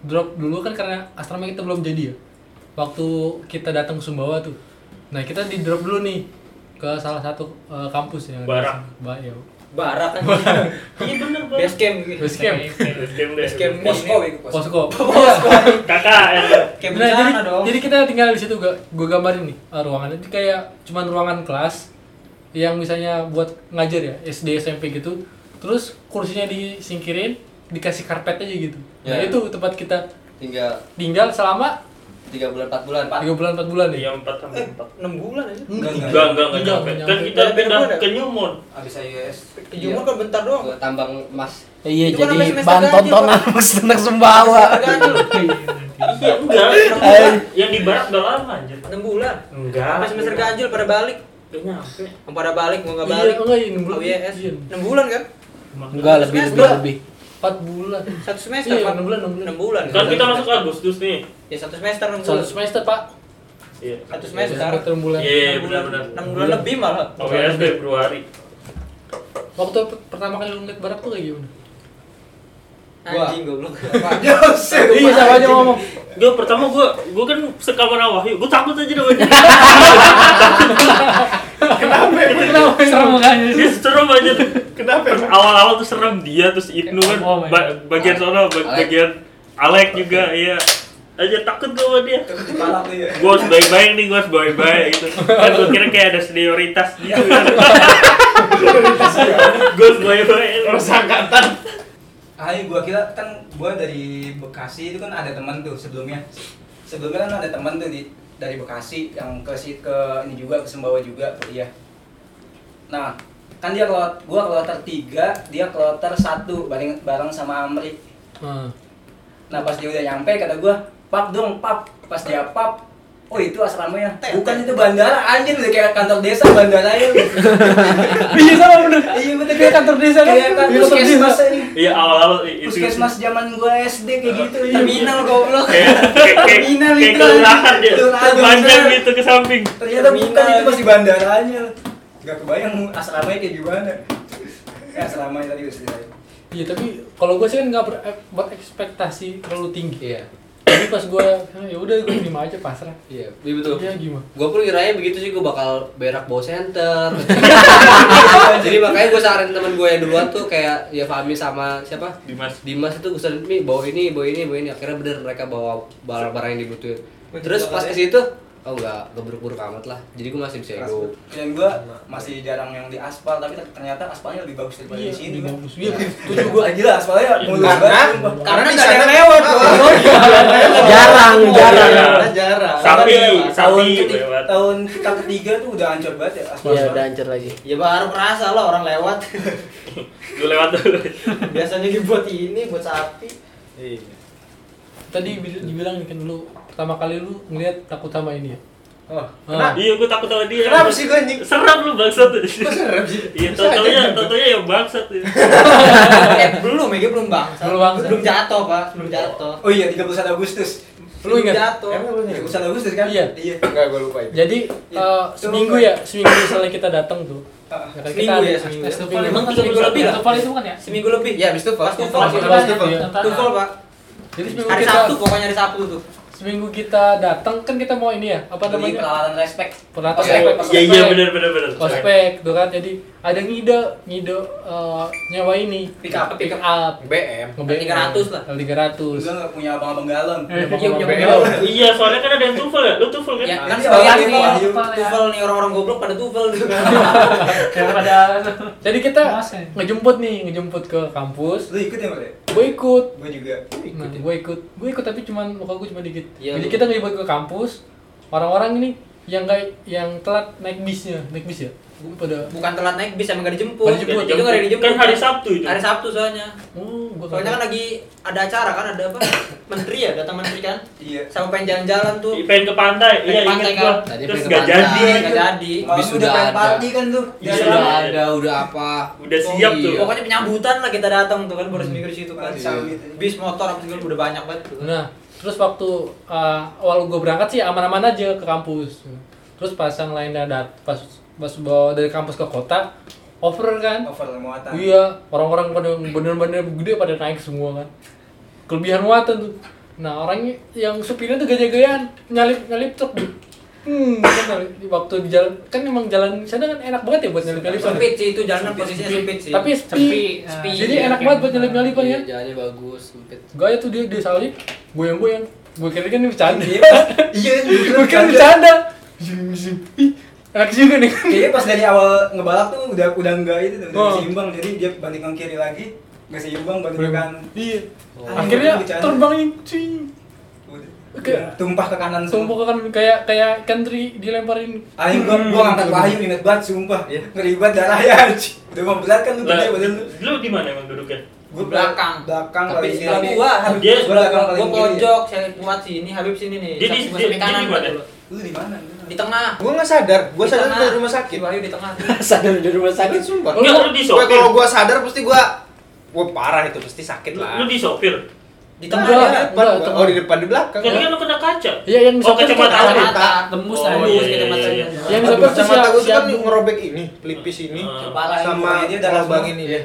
[SPEAKER 1] drop dulu kan karena asrama kita belum jadi ya. Waktu kita datang ke Sumbawa tuh, nah kita di drop dulu nih ke salah satu eh, kampus yang
[SPEAKER 2] Barak.
[SPEAKER 1] Ba ya.
[SPEAKER 5] Barak kan.
[SPEAKER 2] Iya benar, Bang.
[SPEAKER 5] Base camp.
[SPEAKER 1] Base camp.
[SPEAKER 2] Base camp deh.
[SPEAKER 5] Base camp. Posko itu posko.
[SPEAKER 1] Posko.
[SPEAKER 2] Kakak ya.
[SPEAKER 5] Kayak
[SPEAKER 1] Nah, jadi,
[SPEAKER 5] bencana dong.
[SPEAKER 1] jadi kita tinggal di situ gue gue gambarin nih eh, ruangannya. Jadi kayak cuman ruangan kelas yang misalnya buat ngajar ya SD SMP gitu. Terus kursinya disingkirin, dikasih karpet aja gitu. Nah,
[SPEAKER 3] Ya.
[SPEAKER 1] itu tempat kita
[SPEAKER 3] Tinggal
[SPEAKER 1] tinggal selama
[SPEAKER 3] tiga bulan empat bulan. Pak.
[SPEAKER 1] tiga bulan empat bulan ya.
[SPEAKER 2] Iya, empat sama empat.
[SPEAKER 5] 6 Eh, bulan aja.
[SPEAKER 6] Iya.
[SPEAKER 2] Enggak, enggak, enggak
[SPEAKER 1] Enggak,
[SPEAKER 2] nyampe.
[SPEAKER 1] enggak
[SPEAKER 2] Kan
[SPEAKER 1] nyampe.
[SPEAKER 2] kita
[SPEAKER 5] Dari
[SPEAKER 2] pindah
[SPEAKER 5] Pekanbaru.
[SPEAKER 2] ke Nyumon.
[SPEAKER 3] Abis IUS.
[SPEAKER 5] Ke Jumur kan bentar doang.
[SPEAKER 3] Iya. Ke tambang emas.
[SPEAKER 4] Iya,
[SPEAKER 5] Itu kan
[SPEAKER 4] jadi
[SPEAKER 5] namanya semester
[SPEAKER 4] bahan
[SPEAKER 5] ganjil,
[SPEAKER 4] tontonan
[SPEAKER 5] Pak.
[SPEAKER 4] mas tentang
[SPEAKER 1] Iya,
[SPEAKER 4] Sumbawa.
[SPEAKER 5] Harga aja loh.
[SPEAKER 2] Iya, enggak.
[SPEAKER 4] Eh.
[SPEAKER 2] Yang di barat udah lama anjir.
[SPEAKER 5] 6 bulan.
[SPEAKER 2] Enggak.
[SPEAKER 5] Sampai semester ganjil pada balik. Oh,
[SPEAKER 2] Nggak nyampe.
[SPEAKER 5] Yang pada balik mau enggak
[SPEAKER 1] Iya,
[SPEAKER 5] balik.
[SPEAKER 1] enggak, iya, enam bulan.
[SPEAKER 5] UIS.
[SPEAKER 1] Iya.
[SPEAKER 5] 6 bulan kan?
[SPEAKER 4] Enggak, lebih lebih
[SPEAKER 5] Semester.
[SPEAKER 4] lebih.
[SPEAKER 1] Empat bulan.
[SPEAKER 5] Satu semester,
[SPEAKER 1] Iya,
[SPEAKER 5] Pak.
[SPEAKER 1] enam bulan, enam bulan.
[SPEAKER 5] Enam bulan.
[SPEAKER 2] Kan kita masuk Agustus nih.
[SPEAKER 5] Ya satu semester 6
[SPEAKER 1] Satu
[SPEAKER 5] bulan.
[SPEAKER 1] semester pak.
[SPEAKER 2] Iya.
[SPEAKER 5] Satu
[SPEAKER 1] Satu
[SPEAKER 5] semester.
[SPEAKER 1] semester bulan.
[SPEAKER 2] Iya, benar-benar. Oh, iya.
[SPEAKER 5] 6 bulan lebih malah.
[SPEAKER 2] OBS Februari.
[SPEAKER 1] Waktu per- pertama kali lu ngeliat barak tuh kayak gimana?
[SPEAKER 5] Anjing goblok.
[SPEAKER 1] Iya sama aja ngomong.
[SPEAKER 2] Gue pertama gue gue kan sekamar sama Wahyu. Gue takut aja sama dia.
[SPEAKER 7] ya?
[SPEAKER 1] Kenapa? ya? Serem mukanya.
[SPEAKER 2] Dia serem aja.
[SPEAKER 7] Kenapa?
[SPEAKER 2] ya?
[SPEAKER 7] emang?
[SPEAKER 2] Awal-awal tuh serem dia terus Ibnu kan
[SPEAKER 1] Oh my
[SPEAKER 2] ba- bagian sana ba-
[SPEAKER 3] Alek.
[SPEAKER 2] bagian Alek juga iya. Aja takut gue sama dia.
[SPEAKER 3] Kepala tuh ya.
[SPEAKER 2] Gue harus baik-baik nih, gue harus baik-baik gitu. Kan gue kira kayak ada senioritas gitu kan. Gue sebagai orang angkatan.
[SPEAKER 3] Ayo gua kira kan gua dari Bekasi itu kan ada teman tuh sebelumnya. Sebelumnya kan ada teman tuh di dari Bekasi yang ke si- ke ini juga ke Sembawa juga kuliah. Nah, kan dia kalau gua kloter 3, dia kloter 1 bareng bareng sama Amri.
[SPEAKER 1] Hmm.
[SPEAKER 3] Nah, pas dia udah nyampe kata gua, "Pap dong, pap." Pas dia pap, Oh itu asramanya, bukan itu bandara, anjir udah kayak kantor desa bandara ya
[SPEAKER 1] Iya sama bener.
[SPEAKER 3] Iya bener
[SPEAKER 1] Kayak kantor desa kan?
[SPEAKER 3] Kayak
[SPEAKER 1] Iya, kantor
[SPEAKER 3] kantor
[SPEAKER 1] desa.
[SPEAKER 3] puskesmas ini
[SPEAKER 2] Iya awal-awal i- itu.
[SPEAKER 3] Puskesmas zaman gua SD kayak gitu, terminal goblok.
[SPEAKER 2] Kayak kayak kayak-
[SPEAKER 3] Terminal
[SPEAKER 2] kayak
[SPEAKER 3] itu.
[SPEAKER 2] kelelahan dia.
[SPEAKER 3] Kelelahan,
[SPEAKER 2] Terbanggang
[SPEAKER 3] bener.
[SPEAKER 2] gitu ke samping.
[SPEAKER 3] Ternyata bukan
[SPEAKER 6] Terminal.
[SPEAKER 3] itu masih bandaranya. Gak kebayang asramanya kayak gimana. Ya asramanya tadi udah selesai.
[SPEAKER 1] Iya tapi kalau gue sih kan nggak ber- berekspektasi terlalu tinggi
[SPEAKER 3] Iya.
[SPEAKER 1] ya. Jadi pas gue ya udah gue terima aja pasrah.
[SPEAKER 9] Iya, iya betul.
[SPEAKER 1] Iya gimana?
[SPEAKER 9] Gue pun kiranya begitu sih gue bakal berak bawa center. Jadi makanya gue saranin temen gue yang duluan tuh kayak ya Fahmi sama siapa?
[SPEAKER 2] Dimas.
[SPEAKER 9] Dimas itu gue saranin mi bawa ini, bawa ini, bawa ini. Akhirnya bener mereka bawa barang-barang yang dibutuhin. Terus pas
[SPEAKER 3] ya.
[SPEAKER 9] ke situ, oh enggak, gak buruk-buruk amat lah. Jadi gue masih bisa ego.
[SPEAKER 3] Dan gua masih jarang yang di aspal, tapi ternyata aspalnya lebih bagus daripada
[SPEAKER 1] Iya
[SPEAKER 3] di sini.
[SPEAKER 1] ini
[SPEAKER 3] Bang.
[SPEAKER 1] bagus. Iya tujuh
[SPEAKER 3] Gua
[SPEAKER 1] gue.
[SPEAKER 3] gila aspalnya mulus
[SPEAKER 6] Karena-
[SPEAKER 3] banget. sumpah.
[SPEAKER 6] karena
[SPEAKER 3] nggak ada yang
[SPEAKER 6] di sana-
[SPEAKER 3] lewat.
[SPEAKER 7] Ah.
[SPEAKER 3] Bang.
[SPEAKER 7] Jarang, jarang.
[SPEAKER 2] iya.
[SPEAKER 6] Karena jarang.
[SPEAKER 2] Sapi,
[SPEAKER 3] Karena tahun
[SPEAKER 2] sapi
[SPEAKER 3] keti-
[SPEAKER 2] lewat.
[SPEAKER 3] tahun kita ketiga tuh udah hancur banget ya aspal.
[SPEAKER 7] Iya udah hancur lagi.
[SPEAKER 6] Ya baru merasa lah orang lewat.
[SPEAKER 2] Lu lewat dulu.
[SPEAKER 6] Biasanya dibuat ini buat sapi.
[SPEAKER 1] Tadi bi- dibilang kan lu pertama kali lu ngeliat takut sama ini ya.
[SPEAKER 6] Oh,
[SPEAKER 1] Ah.
[SPEAKER 2] Iya, gue takut sama dia.
[SPEAKER 6] Kenapa sih gue anjing?
[SPEAKER 2] Serem lu bangsat.
[SPEAKER 6] serem sih?
[SPEAKER 2] Iya,
[SPEAKER 6] Bisa aja
[SPEAKER 2] totonya,
[SPEAKER 6] gitu.
[SPEAKER 2] totonya ya bangsat. ya.
[SPEAKER 6] Eh, belum, ya belum bang.
[SPEAKER 1] Belum bangsa.
[SPEAKER 6] Belum jatuh pak, belum jatuh.
[SPEAKER 3] Oh iya 31 Agustus.
[SPEAKER 1] Lu
[SPEAKER 6] Belum
[SPEAKER 1] ingat?
[SPEAKER 6] Jatuh.
[SPEAKER 3] Emang lu 31 Agustus kan?
[SPEAKER 1] Iya.
[SPEAKER 3] Iya.
[SPEAKER 6] Enggak, gue lupa itu.
[SPEAKER 1] Jadi eh, seminggu ya, seminggu misalnya kita datang tuh.
[SPEAKER 3] Ah,
[SPEAKER 1] Ya, kan
[SPEAKER 3] seminggu
[SPEAKER 1] ada-
[SPEAKER 3] ya, seminggu.
[SPEAKER 1] ada
[SPEAKER 3] Paling
[SPEAKER 1] seminggu.
[SPEAKER 3] emang kan seminggu lebih lah.
[SPEAKER 8] Tufal itu bukan ya?
[SPEAKER 3] Seminggu lebih.
[SPEAKER 9] Iya, abis itu
[SPEAKER 3] Pas
[SPEAKER 9] pas
[SPEAKER 3] tuval.
[SPEAKER 1] Pas
[SPEAKER 3] pas
[SPEAKER 1] tuval.
[SPEAKER 3] tuval.
[SPEAKER 1] Iya.
[SPEAKER 3] Tuval, Pak.
[SPEAKER 1] Jadi seminggu
[SPEAKER 6] Hari
[SPEAKER 1] kita
[SPEAKER 6] Sabtu, pokoknya hari Sabtu tuh.
[SPEAKER 1] seminggu kita datang kan kita mau ini ya apa
[SPEAKER 3] Beli
[SPEAKER 1] namanya
[SPEAKER 3] peralatan respek.
[SPEAKER 1] Peralatan
[SPEAKER 3] Ospek,
[SPEAKER 1] respek.
[SPEAKER 3] ospek.
[SPEAKER 2] Iya, iya benar benar benar.
[SPEAKER 1] ospek tuh kan jadi ada ngide ngide eh, nyewa ini
[SPEAKER 3] Pick up, pick
[SPEAKER 1] up
[SPEAKER 6] BM.
[SPEAKER 1] Nge-BM.
[SPEAKER 3] 300 lah.
[SPEAKER 1] L300
[SPEAKER 3] Gua nggak punya abang-abang galon.
[SPEAKER 1] Iya,
[SPEAKER 8] Eh, iya,
[SPEAKER 1] iya,
[SPEAKER 8] iya.
[SPEAKER 2] Iya, soalnya kan ada yang tufel ya. Lu tufel kan?
[SPEAKER 3] Ya, kan
[SPEAKER 6] Iya,
[SPEAKER 3] sebagian
[SPEAKER 8] iya,
[SPEAKER 3] nih,
[SPEAKER 8] iya.
[SPEAKER 3] tuval nih orang-orang goblok pada tuval
[SPEAKER 6] gitu.
[SPEAKER 3] tuh.
[SPEAKER 8] Daripada
[SPEAKER 1] jadi kita
[SPEAKER 8] Mas, ya.
[SPEAKER 1] ngejemput nih ngejemput ke kampus
[SPEAKER 3] Lu ikut ya, Bre?
[SPEAKER 1] gue ikut
[SPEAKER 3] Gua juga.
[SPEAKER 1] nah, gue ikut gue ikut tapi cuman muka gue cuma dikit
[SPEAKER 9] Iya,
[SPEAKER 1] jadi
[SPEAKER 9] lu-
[SPEAKER 1] kita ngejemput ke kampus orang-orang ini yang gak yang telat naik bisnya naik bis ya gue pada
[SPEAKER 3] Bukan telat naik bis emang gak dijemput.
[SPEAKER 1] Nggak dijemput.
[SPEAKER 3] Itu nggak ada yang dijemput.
[SPEAKER 2] Kan hari Sabtu itu.
[SPEAKER 3] Hari Sabtu soalnya.
[SPEAKER 1] oh gue
[SPEAKER 6] Soalnya kan lagi ada acara kan, ada apa? Menteri ya, datang menteri kan?
[SPEAKER 3] Iya.
[SPEAKER 6] Sama pengen jalan-jalan tuh.
[SPEAKER 2] Ih, Pengen ke pantai,
[SPEAKER 6] Pengen
[SPEAKER 2] iya
[SPEAKER 6] ke pantai,
[SPEAKER 2] inget gua.
[SPEAKER 6] kan?
[SPEAKER 9] Tadi
[SPEAKER 2] Terus
[SPEAKER 9] pengen ke
[SPEAKER 2] gak
[SPEAKER 9] pantai.
[SPEAKER 2] jadi.
[SPEAKER 6] Iya, nggak jadi.
[SPEAKER 3] Malam
[SPEAKER 9] Bis
[SPEAKER 3] udah
[SPEAKER 9] udah
[SPEAKER 3] pengen
[SPEAKER 9] ada.
[SPEAKER 3] party kan lu.
[SPEAKER 6] Iya,
[SPEAKER 2] Bis
[SPEAKER 3] Jalan.
[SPEAKER 2] udah
[SPEAKER 9] Udah ada, udah apa.
[SPEAKER 2] Udah siap tuh.
[SPEAKER 9] Iya.
[SPEAKER 6] Pokoknya penyambutan lah kita datang tuh kan, baru seminggu di situ kan.
[SPEAKER 3] Iya.
[SPEAKER 6] Bis motor apa segala udah banyak banget tuh.
[SPEAKER 1] Nah, terus waktu uh, awal gue berangkat sih aman-aman aja ke kampus. Terus pas yang lainnya dat pas pas bawa dari kampus ke kota, over kan?
[SPEAKER 3] Over muatan.
[SPEAKER 1] Iya, orang-orang pada bener-bener gede pada naik semua kan. Kelebihan muatan tuh. Nah, orangnya yang supirnya tuh gaya-gayaan, nyalip-nyalip truk. Hmm, kan nyalip- di waktu di jalan kan emang jalan di sana kan enak banget ya buat nyalip-nyalip. kan?
[SPEAKER 6] Sempit sih itu jalanan posisinya sempit sih. gitu.
[SPEAKER 1] Tapi
[SPEAKER 8] Sepi,
[SPEAKER 1] sepi.
[SPEAKER 8] sepi. gitu.
[SPEAKER 1] Jadi enak banget buat nyalip-nyalip kan
[SPEAKER 9] Iya,
[SPEAKER 1] ya.
[SPEAKER 9] jalannya bagus, sempit.
[SPEAKER 1] Gaya tuh dia dia salip, goyang-goyang. Gue kira kan ini bercanda.
[SPEAKER 3] Iya, pas- Iya,
[SPEAKER 1] Gue kira bercanda. Zing, zing. Ih, Enak juga nih.
[SPEAKER 3] Kayaknya pas dari awal ngebalap tuh udah udah enggak itu tuh, udah
[SPEAKER 1] Oh.
[SPEAKER 3] nggak seimbang jadi dia balik ke kiri lagi nggak seimbang balik ke kanan.
[SPEAKER 1] Iya.
[SPEAKER 9] Oh.
[SPEAKER 1] Akhirnya
[SPEAKER 3] Bercanda.
[SPEAKER 1] terbangin cuy.
[SPEAKER 3] Udah.
[SPEAKER 1] Oke.
[SPEAKER 3] Tumpah ke kanan.
[SPEAKER 1] Sumpah kan kayak kayak country dilemparin.
[SPEAKER 3] Aing gua gua ngangkat Wahyu inget banget sumpah. Ngeri banget darahnya anjing. Udah membelat kan lu
[SPEAKER 2] Lah,
[SPEAKER 3] gede badan lu.
[SPEAKER 2] Lu di mana emang duduknya?
[SPEAKER 3] Gua
[SPEAKER 6] Belakang.
[SPEAKER 3] Belakang
[SPEAKER 6] Tapi
[SPEAKER 3] paling
[SPEAKER 6] sebelah
[SPEAKER 3] kiri.
[SPEAKER 6] gua,
[SPEAKER 2] Dia-
[SPEAKER 3] gua belakang
[SPEAKER 6] Gua
[SPEAKER 3] paling kiri.
[SPEAKER 6] pojok, saya kuat sini, Habib sini nih.
[SPEAKER 2] Jadi-
[SPEAKER 6] Gua
[SPEAKER 2] jadi-
[SPEAKER 6] sampai kanan
[SPEAKER 2] jadi
[SPEAKER 6] gua
[SPEAKER 2] gimana?
[SPEAKER 6] dulu.
[SPEAKER 3] Lu di mana?
[SPEAKER 6] Di tengah.
[SPEAKER 7] Gue nggak sadar,
[SPEAKER 6] Di tengah. Si Wahyu di tengah.
[SPEAKER 7] sadar di rumah
[SPEAKER 6] Sakit
[SPEAKER 7] sakit.
[SPEAKER 6] sumpah.
[SPEAKER 2] Enggak, lu di
[SPEAKER 7] Gue
[SPEAKER 2] sopir.
[SPEAKER 7] kalau gue sadar pasti gue, gue parah itu pasti sakit
[SPEAKER 2] Lu
[SPEAKER 7] lah.
[SPEAKER 2] lu di sopir.
[SPEAKER 6] Di tengah
[SPEAKER 1] Enggak.
[SPEAKER 6] dia.
[SPEAKER 7] Depan,
[SPEAKER 1] Enggak,
[SPEAKER 7] oh di depan di belakang.
[SPEAKER 2] Kan kan lu kena kaca.
[SPEAKER 1] Iya, yang
[SPEAKER 2] Oh,
[SPEAKER 1] sopir kena
[SPEAKER 2] kacamata lu.
[SPEAKER 6] Kacamata.
[SPEAKER 8] Tembus
[SPEAKER 2] Oh,
[SPEAKER 8] tadi.
[SPEAKER 2] iya,
[SPEAKER 6] Tembus
[SPEAKER 2] iya,
[SPEAKER 6] kacamata.
[SPEAKER 2] iya.
[SPEAKER 1] Yang
[SPEAKER 7] Aduh,
[SPEAKER 1] sopir tuh
[SPEAKER 7] kacamata
[SPEAKER 1] siap-
[SPEAKER 7] gue tuh kan
[SPEAKER 1] siap-
[SPEAKER 7] ngerobek ini, pelipis ini,
[SPEAKER 2] Ah.
[SPEAKER 3] Kepala
[SPEAKER 7] sama
[SPEAKER 3] dia darah
[SPEAKER 7] kelabang
[SPEAKER 3] semua.
[SPEAKER 7] ini ya.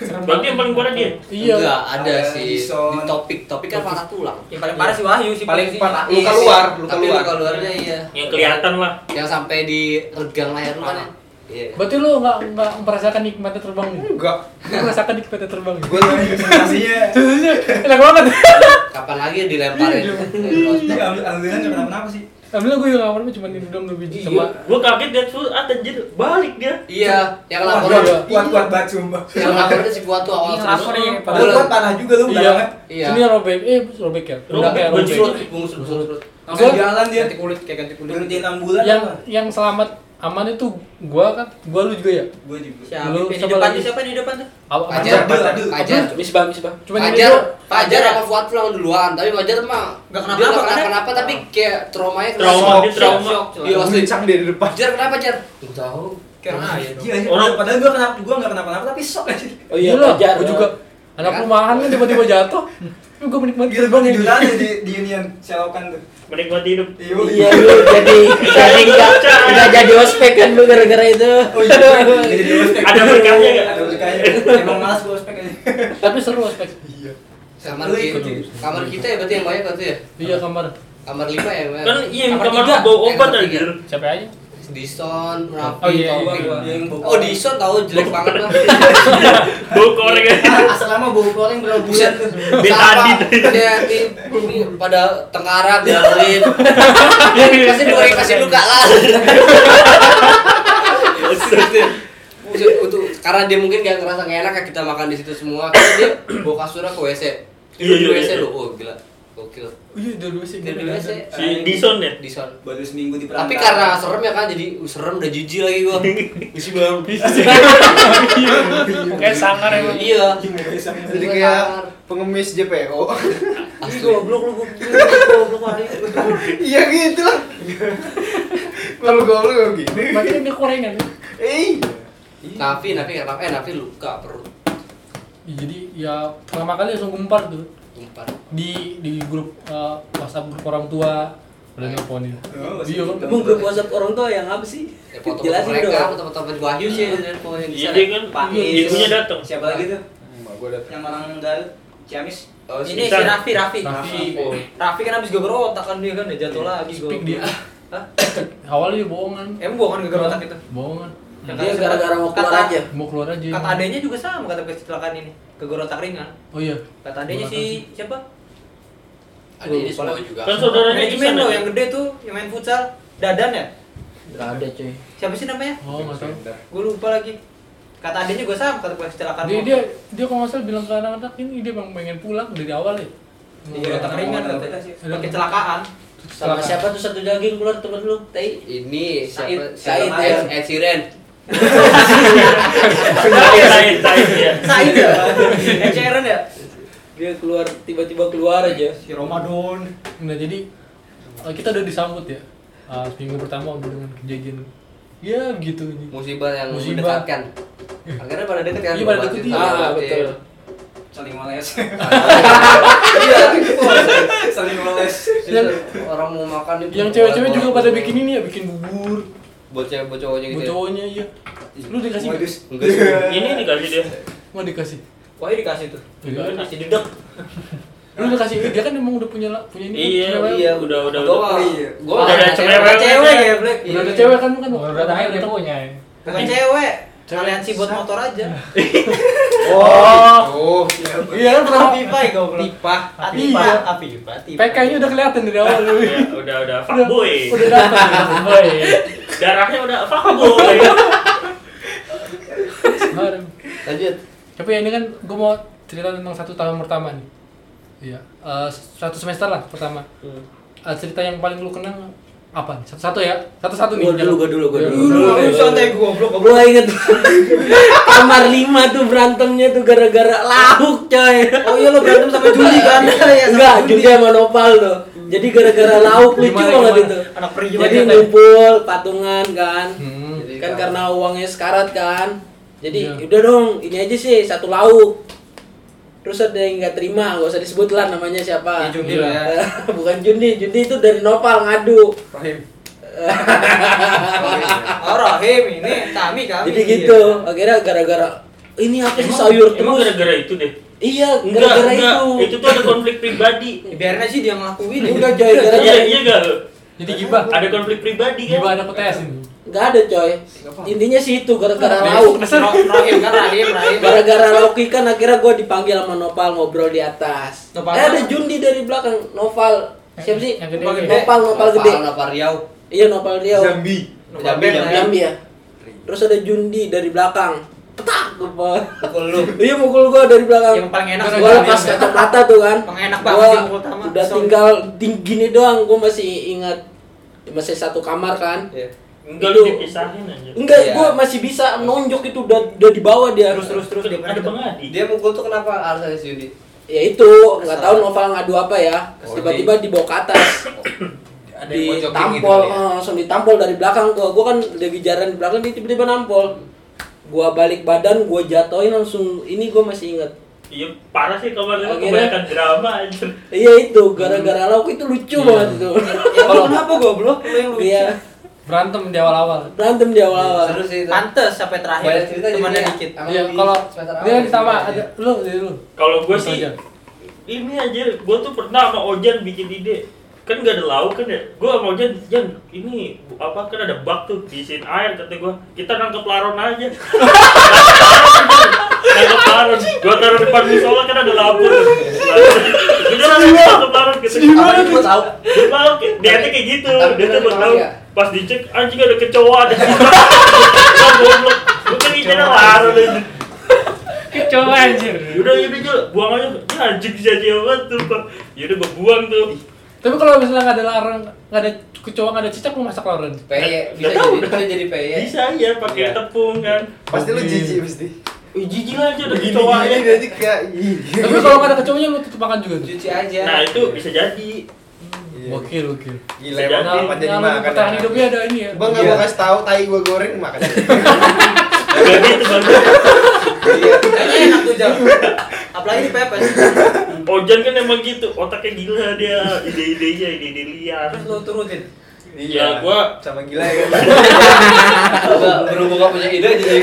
[SPEAKER 8] Serem
[SPEAKER 2] Berarti yang paling parah dia.
[SPEAKER 1] Iya.
[SPEAKER 9] Enggak, ada
[SPEAKER 3] Ada
[SPEAKER 9] sih
[SPEAKER 3] Edison.
[SPEAKER 9] di topik. Topik kan patah tulang.
[SPEAKER 6] Yang paling parah si Wahyu sih
[SPEAKER 7] Paling
[SPEAKER 6] sini.
[SPEAKER 7] parah.
[SPEAKER 9] Iya
[SPEAKER 7] Luka
[SPEAKER 9] sih,
[SPEAKER 7] luar, luka
[SPEAKER 9] tapi
[SPEAKER 7] luar.
[SPEAKER 9] luka luarnya iya.
[SPEAKER 2] Yang kelihatan lah.
[SPEAKER 9] Yang sampai di regang leher lu kan. ya? Iya.
[SPEAKER 1] Berarti lu nggak nggak merasakan nikmatnya terbang nih?
[SPEAKER 3] Hmm.
[SPEAKER 7] Enggak.
[SPEAKER 1] Lu merasakan nikmatnya terbang nih?
[SPEAKER 7] Gue tuh
[SPEAKER 3] Sensasinya.
[SPEAKER 1] Jadinya enak banget.
[SPEAKER 9] Kapan lagi dilemparin?
[SPEAKER 3] Iya, alhamdulillah nggak kenapa-napa sih.
[SPEAKER 1] Alhamdulillah gue juga gak apa-apa cuma ini doang dua biji
[SPEAKER 3] Iya.
[SPEAKER 1] sama
[SPEAKER 2] Gua kaget dia tuh ah anjir balik dia.
[SPEAKER 3] Iya, yang
[SPEAKER 5] Wah,
[SPEAKER 3] lapor
[SPEAKER 1] iya.
[SPEAKER 5] kuat-kuat banget sumpah.
[SPEAKER 3] yang lapor itu si Fuad tuh awal
[SPEAKER 8] Yang lapor
[SPEAKER 3] serius.
[SPEAKER 8] ya, Pak.
[SPEAKER 3] Gua
[SPEAKER 5] Kuat-kuat
[SPEAKER 3] liat-
[SPEAKER 5] panah juga lu
[SPEAKER 1] Iya.
[SPEAKER 5] bener banget.
[SPEAKER 3] Iya.
[SPEAKER 1] Ini robek, eh robek ya. Pundaknya
[SPEAKER 2] Robek,
[SPEAKER 1] robek.
[SPEAKER 2] baju.
[SPEAKER 3] Bungkus, bungkus, bungkus.
[SPEAKER 5] Langsung jalan dia.
[SPEAKER 7] Ganti kulit kayak ganti kulit.
[SPEAKER 5] Berhenti 6 bulan
[SPEAKER 1] Yang
[SPEAKER 5] apa?
[SPEAKER 1] yang selamat aman itu gua kan, gua lu juga ya.
[SPEAKER 5] Gue juga.
[SPEAKER 1] Siapa?
[SPEAKER 6] Siapa? Di
[SPEAKER 1] siapa
[SPEAKER 6] depan
[SPEAKER 1] lagi?
[SPEAKER 6] tuh siapa di depan tuh?
[SPEAKER 1] Apa?
[SPEAKER 3] Pajar,
[SPEAKER 5] Aduh,
[SPEAKER 3] Pajar,
[SPEAKER 5] aduh.
[SPEAKER 3] Pajar.
[SPEAKER 6] Misbah, Misbah.
[SPEAKER 1] Cuma ini
[SPEAKER 3] Pajar,
[SPEAKER 1] doang.
[SPEAKER 3] Pajar sama Fuad pulang duluan, tapi Pajar mah dia
[SPEAKER 6] Nggak kenapa-napa,
[SPEAKER 3] nggak
[SPEAKER 6] kan?
[SPEAKER 3] kenapa-napa tapi kayak traumanya kena
[SPEAKER 2] Trauma,
[SPEAKER 3] shock.
[SPEAKER 2] dia trauma.
[SPEAKER 3] Shock, shock. Iya, asli.
[SPEAKER 7] Lincang dia di depan.
[SPEAKER 3] Jar kenapa Jar? Nggak tahu.
[SPEAKER 6] Karena ayah dong.
[SPEAKER 5] Iya, iya.
[SPEAKER 2] Orang-
[SPEAKER 5] padahal gue kenapa gue nggak kenapa-napa tapi shock aja.
[SPEAKER 6] Oh iya,
[SPEAKER 1] Gila,
[SPEAKER 6] Pajar.
[SPEAKER 1] gua juga anak
[SPEAKER 3] Kan?
[SPEAKER 1] perumahan kan tiba-tiba jatuh. Tapi gua menikmati
[SPEAKER 5] Gila gue tidur aja di di Union selokan tuh.
[SPEAKER 2] Menikmati hidup.
[SPEAKER 6] Iya, lu jadi jadi enggak enggak jadi ospek kan lu gara-gara itu.
[SPEAKER 5] Oh iya. Jadi ospek.
[SPEAKER 2] Ada berkahnya nggak?
[SPEAKER 5] Ada berkahnya. Emang malas gue ospek aja.
[SPEAKER 1] Tapi seru aspek.
[SPEAKER 3] Kamar
[SPEAKER 5] Lu
[SPEAKER 3] kita,
[SPEAKER 5] ikut juga.
[SPEAKER 3] kamar kita ya berarti yang banyak berarti ya.
[SPEAKER 1] Iya kamar.
[SPEAKER 3] Kamar lima ya. Mbak?
[SPEAKER 2] Kan iya
[SPEAKER 6] Kamar
[SPEAKER 2] kamar lu
[SPEAKER 6] tiga.
[SPEAKER 2] bawa
[SPEAKER 3] Eh,
[SPEAKER 2] obat
[SPEAKER 3] kamar
[SPEAKER 2] anjir.
[SPEAKER 3] tiga.
[SPEAKER 1] Siapa aja?
[SPEAKER 3] Dison, Rafi,
[SPEAKER 1] Oh, iya,
[SPEAKER 3] Taufik.
[SPEAKER 1] iya,
[SPEAKER 5] Yang bawa-
[SPEAKER 3] Oh Dison tahu jelek banget lah.
[SPEAKER 2] Bawa korek aja.
[SPEAKER 5] Ah, Asal lama bau koreng berapa bulan tuh.
[SPEAKER 2] Betadin.
[SPEAKER 3] Sampah. Dia di bumi pada tengkarak dilalin. Kasih iya. dua kasih luka lah. Maksud- Untuk karena dia mungkin gak ngerasa gak enak ya kita makan di situ semua. Karena dia bawa kasurnya ke WC. Tidur di
[SPEAKER 2] Iya, iya,
[SPEAKER 3] WC
[SPEAKER 2] iya.
[SPEAKER 3] loh. Oh gila. Gokil.
[SPEAKER 1] Iya, dua-dua sih.
[SPEAKER 3] Tidur di WC.
[SPEAKER 2] Si Dison ya.
[SPEAKER 3] Di sana.
[SPEAKER 5] Baru seminggu di
[SPEAKER 3] Tapi karena serem ya kan jadi uh, serem udah jijik lagi gua. Isi baru.
[SPEAKER 1] Iya.
[SPEAKER 8] Kayak sangar
[SPEAKER 1] ya,
[SPEAKER 8] emang.
[SPEAKER 3] Iya.
[SPEAKER 7] Jadi kayak pengemis JPO.
[SPEAKER 3] Asli.
[SPEAKER 6] Ih, goblok lu goblok hari.
[SPEAKER 7] Iya gitu lah. Kalau gaul kayak gini.
[SPEAKER 1] Makanya dia korengan.
[SPEAKER 7] Eh.
[SPEAKER 3] Nafi, Nafi kenapa? Eh Nafi luka perut.
[SPEAKER 1] Ya, Jadi ya pertama kali langsung gempar tuh
[SPEAKER 3] Umpan.
[SPEAKER 1] di di grup eh, WhatsApp grup orang tua udah nelponin.
[SPEAKER 5] Oh,
[SPEAKER 1] Iya kan?
[SPEAKER 6] Emang grup WhatsApp orang tua yang apa sih?
[SPEAKER 3] Ya foto
[SPEAKER 6] Jelasin
[SPEAKER 3] mereka,
[SPEAKER 6] dong.
[SPEAKER 3] foto-foto Wahyu sih yang nelponin.
[SPEAKER 2] Iya
[SPEAKER 3] Bisa,
[SPEAKER 2] dia
[SPEAKER 3] ya?
[SPEAKER 2] kan
[SPEAKER 5] Pak Is.
[SPEAKER 2] ibunya datang.
[SPEAKER 5] Siapa lagi tuh?
[SPEAKER 7] Mbak gua datang.
[SPEAKER 5] Yang orang Garut, Ciamis.
[SPEAKER 3] Oh,
[SPEAKER 6] Ini si
[SPEAKER 2] Bisa.
[SPEAKER 6] Raffi, Raffi.
[SPEAKER 1] Raffi.
[SPEAKER 6] Raffi kan habis geger otak kan dia kan dia
[SPEAKER 2] Iya,
[SPEAKER 6] jatuh lagi
[SPEAKER 1] Speak
[SPEAKER 6] goblok.
[SPEAKER 1] dia.
[SPEAKER 6] Hah?
[SPEAKER 1] Awalnya dia bohongan.
[SPEAKER 6] Emang gua kan geger otak itu.
[SPEAKER 1] Bohongan.
[SPEAKER 6] Yang Dia kata- gara-gara mau keluar kata- aja.
[SPEAKER 1] Mau keluar aja.
[SPEAKER 6] Kata adanya juga sama kata kecelakaan ini. Geger otak ringan.
[SPEAKER 1] Oh iya.
[SPEAKER 6] Kata adanya
[SPEAKER 1] Geger
[SPEAKER 6] si siapa?
[SPEAKER 3] Ada ini semua juga.
[SPEAKER 2] Kan saudaranya
[SPEAKER 6] Manajemen
[SPEAKER 2] Isan
[SPEAKER 6] lo
[SPEAKER 2] ya?
[SPEAKER 6] yang gede tuh yang main futsal Dadan ya?
[SPEAKER 8] Gak ada cuy.
[SPEAKER 6] Siapa sih namanya?
[SPEAKER 1] Oh nggak tahu.
[SPEAKER 6] Gue lupa lagi. Kata adanya gue sama kata kecelakaan.
[SPEAKER 1] Dia
[SPEAKER 6] motor.
[SPEAKER 1] dia dia kalau nggak salah bilang ke anak-anak ini dia bang pengen pulang dari awal ya.
[SPEAKER 6] Iya, otak ringan katanya.
[SPEAKER 1] Ada-
[SPEAKER 6] Kecelakaan.
[SPEAKER 1] Kecelakaan.
[SPEAKER 6] tuh satu daging keluar temen lu? Tai.
[SPEAKER 3] Ini siapa? Said
[SPEAKER 6] Said.
[SPEAKER 3] Eh,
[SPEAKER 5] Said.
[SPEAKER 3] Ed- Ed Sheeran.
[SPEAKER 2] Said, Said, Said ya.
[SPEAKER 6] Said ya? Eh, Sharon ya? Dia keluar tiba-tiba keluar aja.
[SPEAKER 5] Si Ramadan.
[SPEAKER 1] Nah jadi eh, kita udah disambut ya Eh, seminggu pertama udah dengan kejadian ya gitu ini.
[SPEAKER 3] Musibah yang
[SPEAKER 1] Musibah.
[SPEAKER 3] mendekatkan. Akhirnya pada deket kan?
[SPEAKER 1] Iya, pada deket, iya.
[SPEAKER 3] Ah,
[SPEAKER 6] Ah, betul.
[SPEAKER 3] betul. Ah,
[SPEAKER 5] Saling males.
[SPEAKER 3] Iya.
[SPEAKER 5] Saling males.
[SPEAKER 1] Yang-
[SPEAKER 3] Orang mau makan itu
[SPEAKER 1] Yang cewek-cewek juga pada bikin ini ya bikin bubur.
[SPEAKER 3] Buat cewek buat cowoknya gitu.
[SPEAKER 1] Buat
[SPEAKER 3] ya?
[SPEAKER 1] cowoknya iya. Lu dikasih nggak?
[SPEAKER 5] Modus.
[SPEAKER 3] Enggak sih.
[SPEAKER 2] Ini dikasih dia.
[SPEAKER 1] Mau dikasih.
[SPEAKER 6] Wah, ini dikasih tuh.
[SPEAKER 1] Iya.
[SPEAKER 6] Kasih dedek.
[SPEAKER 1] Lu dikasih dia kan emang udah punya la- punya ini. kan,
[SPEAKER 2] Iya,
[SPEAKER 1] cewek.
[SPEAKER 2] iya, udah, udah,
[SPEAKER 3] Gua
[SPEAKER 2] udah.
[SPEAKER 3] mah-
[SPEAKER 5] Iya.
[SPEAKER 3] gua
[SPEAKER 2] Udah ada
[SPEAKER 3] mah-
[SPEAKER 2] cewek.
[SPEAKER 6] Cewek
[SPEAKER 3] Iya.
[SPEAKER 6] ya, Black.
[SPEAKER 1] Udah ada cewek kan lu kan.
[SPEAKER 8] Menurut aja dia punya. ya.
[SPEAKER 6] Bukan cewek.
[SPEAKER 1] Cewek.
[SPEAKER 6] Aliansi buat motor aja.
[SPEAKER 2] Oh,
[SPEAKER 7] Oh,
[SPEAKER 1] Iya kan pertama
[SPEAKER 6] Api pai goblok. Pipa. Api
[SPEAKER 1] Iya.
[SPEAKER 6] pa. Api pa.
[SPEAKER 1] PK-nya udah kelihatan dari awal. lu.
[SPEAKER 2] ya, udah udah fuckboy.
[SPEAKER 1] Udah datang.
[SPEAKER 8] Boy.
[SPEAKER 2] Darahnya udah fuckboy.
[SPEAKER 1] Bareng.
[SPEAKER 3] Lanjut.
[SPEAKER 1] Tapi ya ini kan gue mau cerita tentang satu tahun pertama nih. Iya. Eh, satu semester lah pertama.
[SPEAKER 6] Hmm.
[SPEAKER 1] Eh, cerita yang paling lu kenang apa? nih? Satu-satu ya. Satu-satu nih.
[SPEAKER 6] Gua dulu, gua dulu, gua
[SPEAKER 1] Iya.
[SPEAKER 6] dulu.
[SPEAKER 5] Lu santai gue goblok.
[SPEAKER 6] Gua inget kamar lima tuh berantemnya tuh gara-gara lauk coy. Oh iya lo berantem sama Juli kan? Enggak, Juli sama Nopal tuh. Jadi gara-gara lauk lucu
[SPEAKER 1] Gimana,
[SPEAKER 6] banget
[SPEAKER 1] gimana?
[SPEAKER 6] itu.
[SPEAKER 5] Anak periuk
[SPEAKER 6] Jadi
[SPEAKER 5] aja, Teh.
[SPEAKER 6] ngumpul patungan kan.
[SPEAKER 1] Hmm.
[SPEAKER 6] Kan karena uangnya sekarat kan. Jadi
[SPEAKER 1] Iya.
[SPEAKER 6] udah dong, ini aja sih satu lauk. Terus ada yang nggak terima, gak usah disebut lah namanya siapa.
[SPEAKER 5] Ya, Jundi lah ya.
[SPEAKER 3] Iya.
[SPEAKER 6] Bukan Jundi, Jundi itu dari Nopal ngadu.
[SPEAKER 5] Rahim.
[SPEAKER 6] Oh Rahim ini kami kami. Jadi
[SPEAKER 3] iya.
[SPEAKER 6] gitu. Akhirnya gara-gara ini apa sih sayur
[SPEAKER 2] Emang
[SPEAKER 6] terus?
[SPEAKER 2] gara-gara itu deh.
[SPEAKER 6] Iya,
[SPEAKER 2] Enggak,
[SPEAKER 6] gara-gara itu.
[SPEAKER 2] enggak. Itu tuh ada konflik pribadi.
[SPEAKER 6] Biarin aja dia ngelakuin. Enggak coy,
[SPEAKER 2] Iya,
[SPEAKER 6] gara-gara
[SPEAKER 2] iya enggak.
[SPEAKER 1] Jadi gibah.
[SPEAKER 2] Ada konflik pribadi
[SPEAKER 1] Gibah
[SPEAKER 2] kan?
[SPEAKER 1] ada UTS ini.
[SPEAKER 6] enggak ada coy. Intinya sih itu gara-gara
[SPEAKER 1] Nah,
[SPEAKER 6] lauk.
[SPEAKER 1] dasar.
[SPEAKER 6] Rahim kan Rahim, Rahim. Gara-gara lauk ikan akhirnya gue dipanggil sama Nopal ngobrol di atas.
[SPEAKER 5] Nopal
[SPEAKER 6] eh, ada
[SPEAKER 5] mana?
[SPEAKER 6] Jundi dari belakang Noval Siapa sih?
[SPEAKER 8] Yang gede.
[SPEAKER 6] Nopal
[SPEAKER 8] gede.
[SPEAKER 6] Nopal, Nopal gede.
[SPEAKER 3] Nopal Riau.
[SPEAKER 6] Iya Nopal Riau.
[SPEAKER 4] Jambi.
[SPEAKER 3] Jambi, Jambi.
[SPEAKER 6] Jambi ya. Terus ada Jundi dari belakang. Petak gua.
[SPEAKER 3] Pukul lu.
[SPEAKER 6] Iya mukul gua dari belakang.
[SPEAKER 10] Yang paling enak sih
[SPEAKER 6] gua
[SPEAKER 10] Jambi.
[SPEAKER 6] lepas
[SPEAKER 1] ya.
[SPEAKER 6] kacamata tuh kan.
[SPEAKER 10] Pengenak banget
[SPEAKER 6] Gua
[SPEAKER 10] sih mukul pertama.
[SPEAKER 6] udah
[SPEAKER 10] Kesel.
[SPEAKER 6] tinggal ting- gini doang gua masih ingat masih satu kamar kan.
[SPEAKER 2] Enggak
[SPEAKER 6] Itu-
[SPEAKER 2] lu dipisahin aja.
[SPEAKER 6] Enggak,
[SPEAKER 3] Iya.
[SPEAKER 6] gua masih bisa nonjok itu udah udah di bawah dia.
[SPEAKER 10] Terus terus terus dia
[SPEAKER 2] ada
[SPEAKER 10] pernah-
[SPEAKER 2] Bang Adi.
[SPEAKER 3] Dia mukul tuh kenapa alasannya si Yudi?
[SPEAKER 6] Ya itu, nggak tahu Noval ngadu apa ya.
[SPEAKER 3] Oh,
[SPEAKER 6] Tiba-tiba dibawa ke atas.
[SPEAKER 3] Ada yang mojokin gitu
[SPEAKER 6] ditampol
[SPEAKER 3] kali ya?
[SPEAKER 6] eh, langsung ditampol dari belakang gua gua kan lagi jalan di belakang dia tiba-tiba nampol gua balik badan gua jatoin langsung ini gua masih inget
[SPEAKER 2] Iya parah sih kabarnya
[SPEAKER 6] Akhirnya-
[SPEAKER 2] kebanyakan drama aja.
[SPEAKER 6] iya itu gara-gara
[SPEAKER 3] Hmm.
[SPEAKER 6] lauk itu lucu
[SPEAKER 3] Iya.
[SPEAKER 6] banget itu
[SPEAKER 3] Ya,
[SPEAKER 10] Kalau kenapa goblok lu yang lucu?
[SPEAKER 6] iya
[SPEAKER 1] Berantem di awal-awal.
[SPEAKER 6] berantem di awal-awal
[SPEAKER 3] Iya, Seru sih itu.
[SPEAKER 10] Pantes sampai terakhir.
[SPEAKER 3] Banyak cerita
[SPEAKER 10] Temannya
[SPEAKER 3] jadinya.
[SPEAKER 10] dikit.
[SPEAKER 3] Emang
[SPEAKER 1] Iya,
[SPEAKER 3] di
[SPEAKER 1] kalau
[SPEAKER 3] semester
[SPEAKER 1] dia
[SPEAKER 3] awal
[SPEAKER 1] ditambah
[SPEAKER 3] sih,
[SPEAKER 1] ada lu, dia lu.
[SPEAKER 2] Kalau gue
[SPEAKER 1] Terus
[SPEAKER 2] sih
[SPEAKER 1] aja.
[SPEAKER 2] ini aja, gue tuh pernah sama Ojan bikin ide kan gak ada lauk kan ya gue sama Ojan Jan ini bu- apa kan ada bak tuh diisiin air kata gue kita nangkep laron aja nangkep laron gue taruh depan musola kan ada lampu tuh. kita nangkep laron gitu
[SPEAKER 10] Apa gua tahu?
[SPEAKER 2] Dia mau kayak- dia tuh kayak gitu,
[SPEAKER 3] Tapi
[SPEAKER 2] dia tuh
[SPEAKER 3] beneran
[SPEAKER 2] mau tahu.
[SPEAKER 3] ya?
[SPEAKER 2] Pas dicek anjing ada kecoa ada. Kecoa goblok. Lu kan ini ada laro lu.
[SPEAKER 8] Kecoa anjir.
[SPEAKER 2] Udah ini Jul, buang aja. Ini anjing jadi banget tuh, Pak. Ya udah gua buang tuh.
[SPEAKER 1] Tapi kalau misalnya nggak ada larang, nggak ada kecoa, nggak ada cicak, lu masak larang.
[SPEAKER 3] PY E. bisa
[SPEAKER 2] Nggak tahu
[SPEAKER 3] jadi bisa jadi E. PY.
[SPEAKER 2] Bisa ya pakai
[SPEAKER 3] Iya.
[SPEAKER 2] tepung kan.
[SPEAKER 7] Pasti lu jijik pasti.
[SPEAKER 2] Ih jijik lah aja ada
[SPEAKER 7] Gini
[SPEAKER 2] kecoa
[SPEAKER 7] gini
[SPEAKER 2] ya.
[SPEAKER 7] nanti kayak ih.
[SPEAKER 1] Tapi kalau nggak ada kecoanya lu tutup makan juga. tuh.
[SPEAKER 3] Cuci aja.
[SPEAKER 2] Nah, itu
[SPEAKER 1] Iya.
[SPEAKER 2] bisa jadi.
[SPEAKER 1] Gokil, gokil.
[SPEAKER 7] Iya. Gila
[SPEAKER 2] Jadi,
[SPEAKER 7] emang kenapa jadi
[SPEAKER 1] Nah,
[SPEAKER 7] makan.
[SPEAKER 1] bertahan
[SPEAKER 7] ya?
[SPEAKER 1] hidupnya ada ini ya.
[SPEAKER 7] Bang nggak mau kasih tahu tai gua goreng makan.
[SPEAKER 2] Jadi itu gitu, Bang.
[SPEAKER 10] Kayaknya enak tuh jam. Apalagi di pepes.
[SPEAKER 2] Ojan kan emang gitu, otaknya gila dia, ide-idenya, ide-ide liar.
[SPEAKER 10] Terus lu turutin.
[SPEAKER 2] Ya gua
[SPEAKER 7] Iya. sama gila ya kan.
[SPEAKER 3] Enggak, berhubung gak punya ide jadi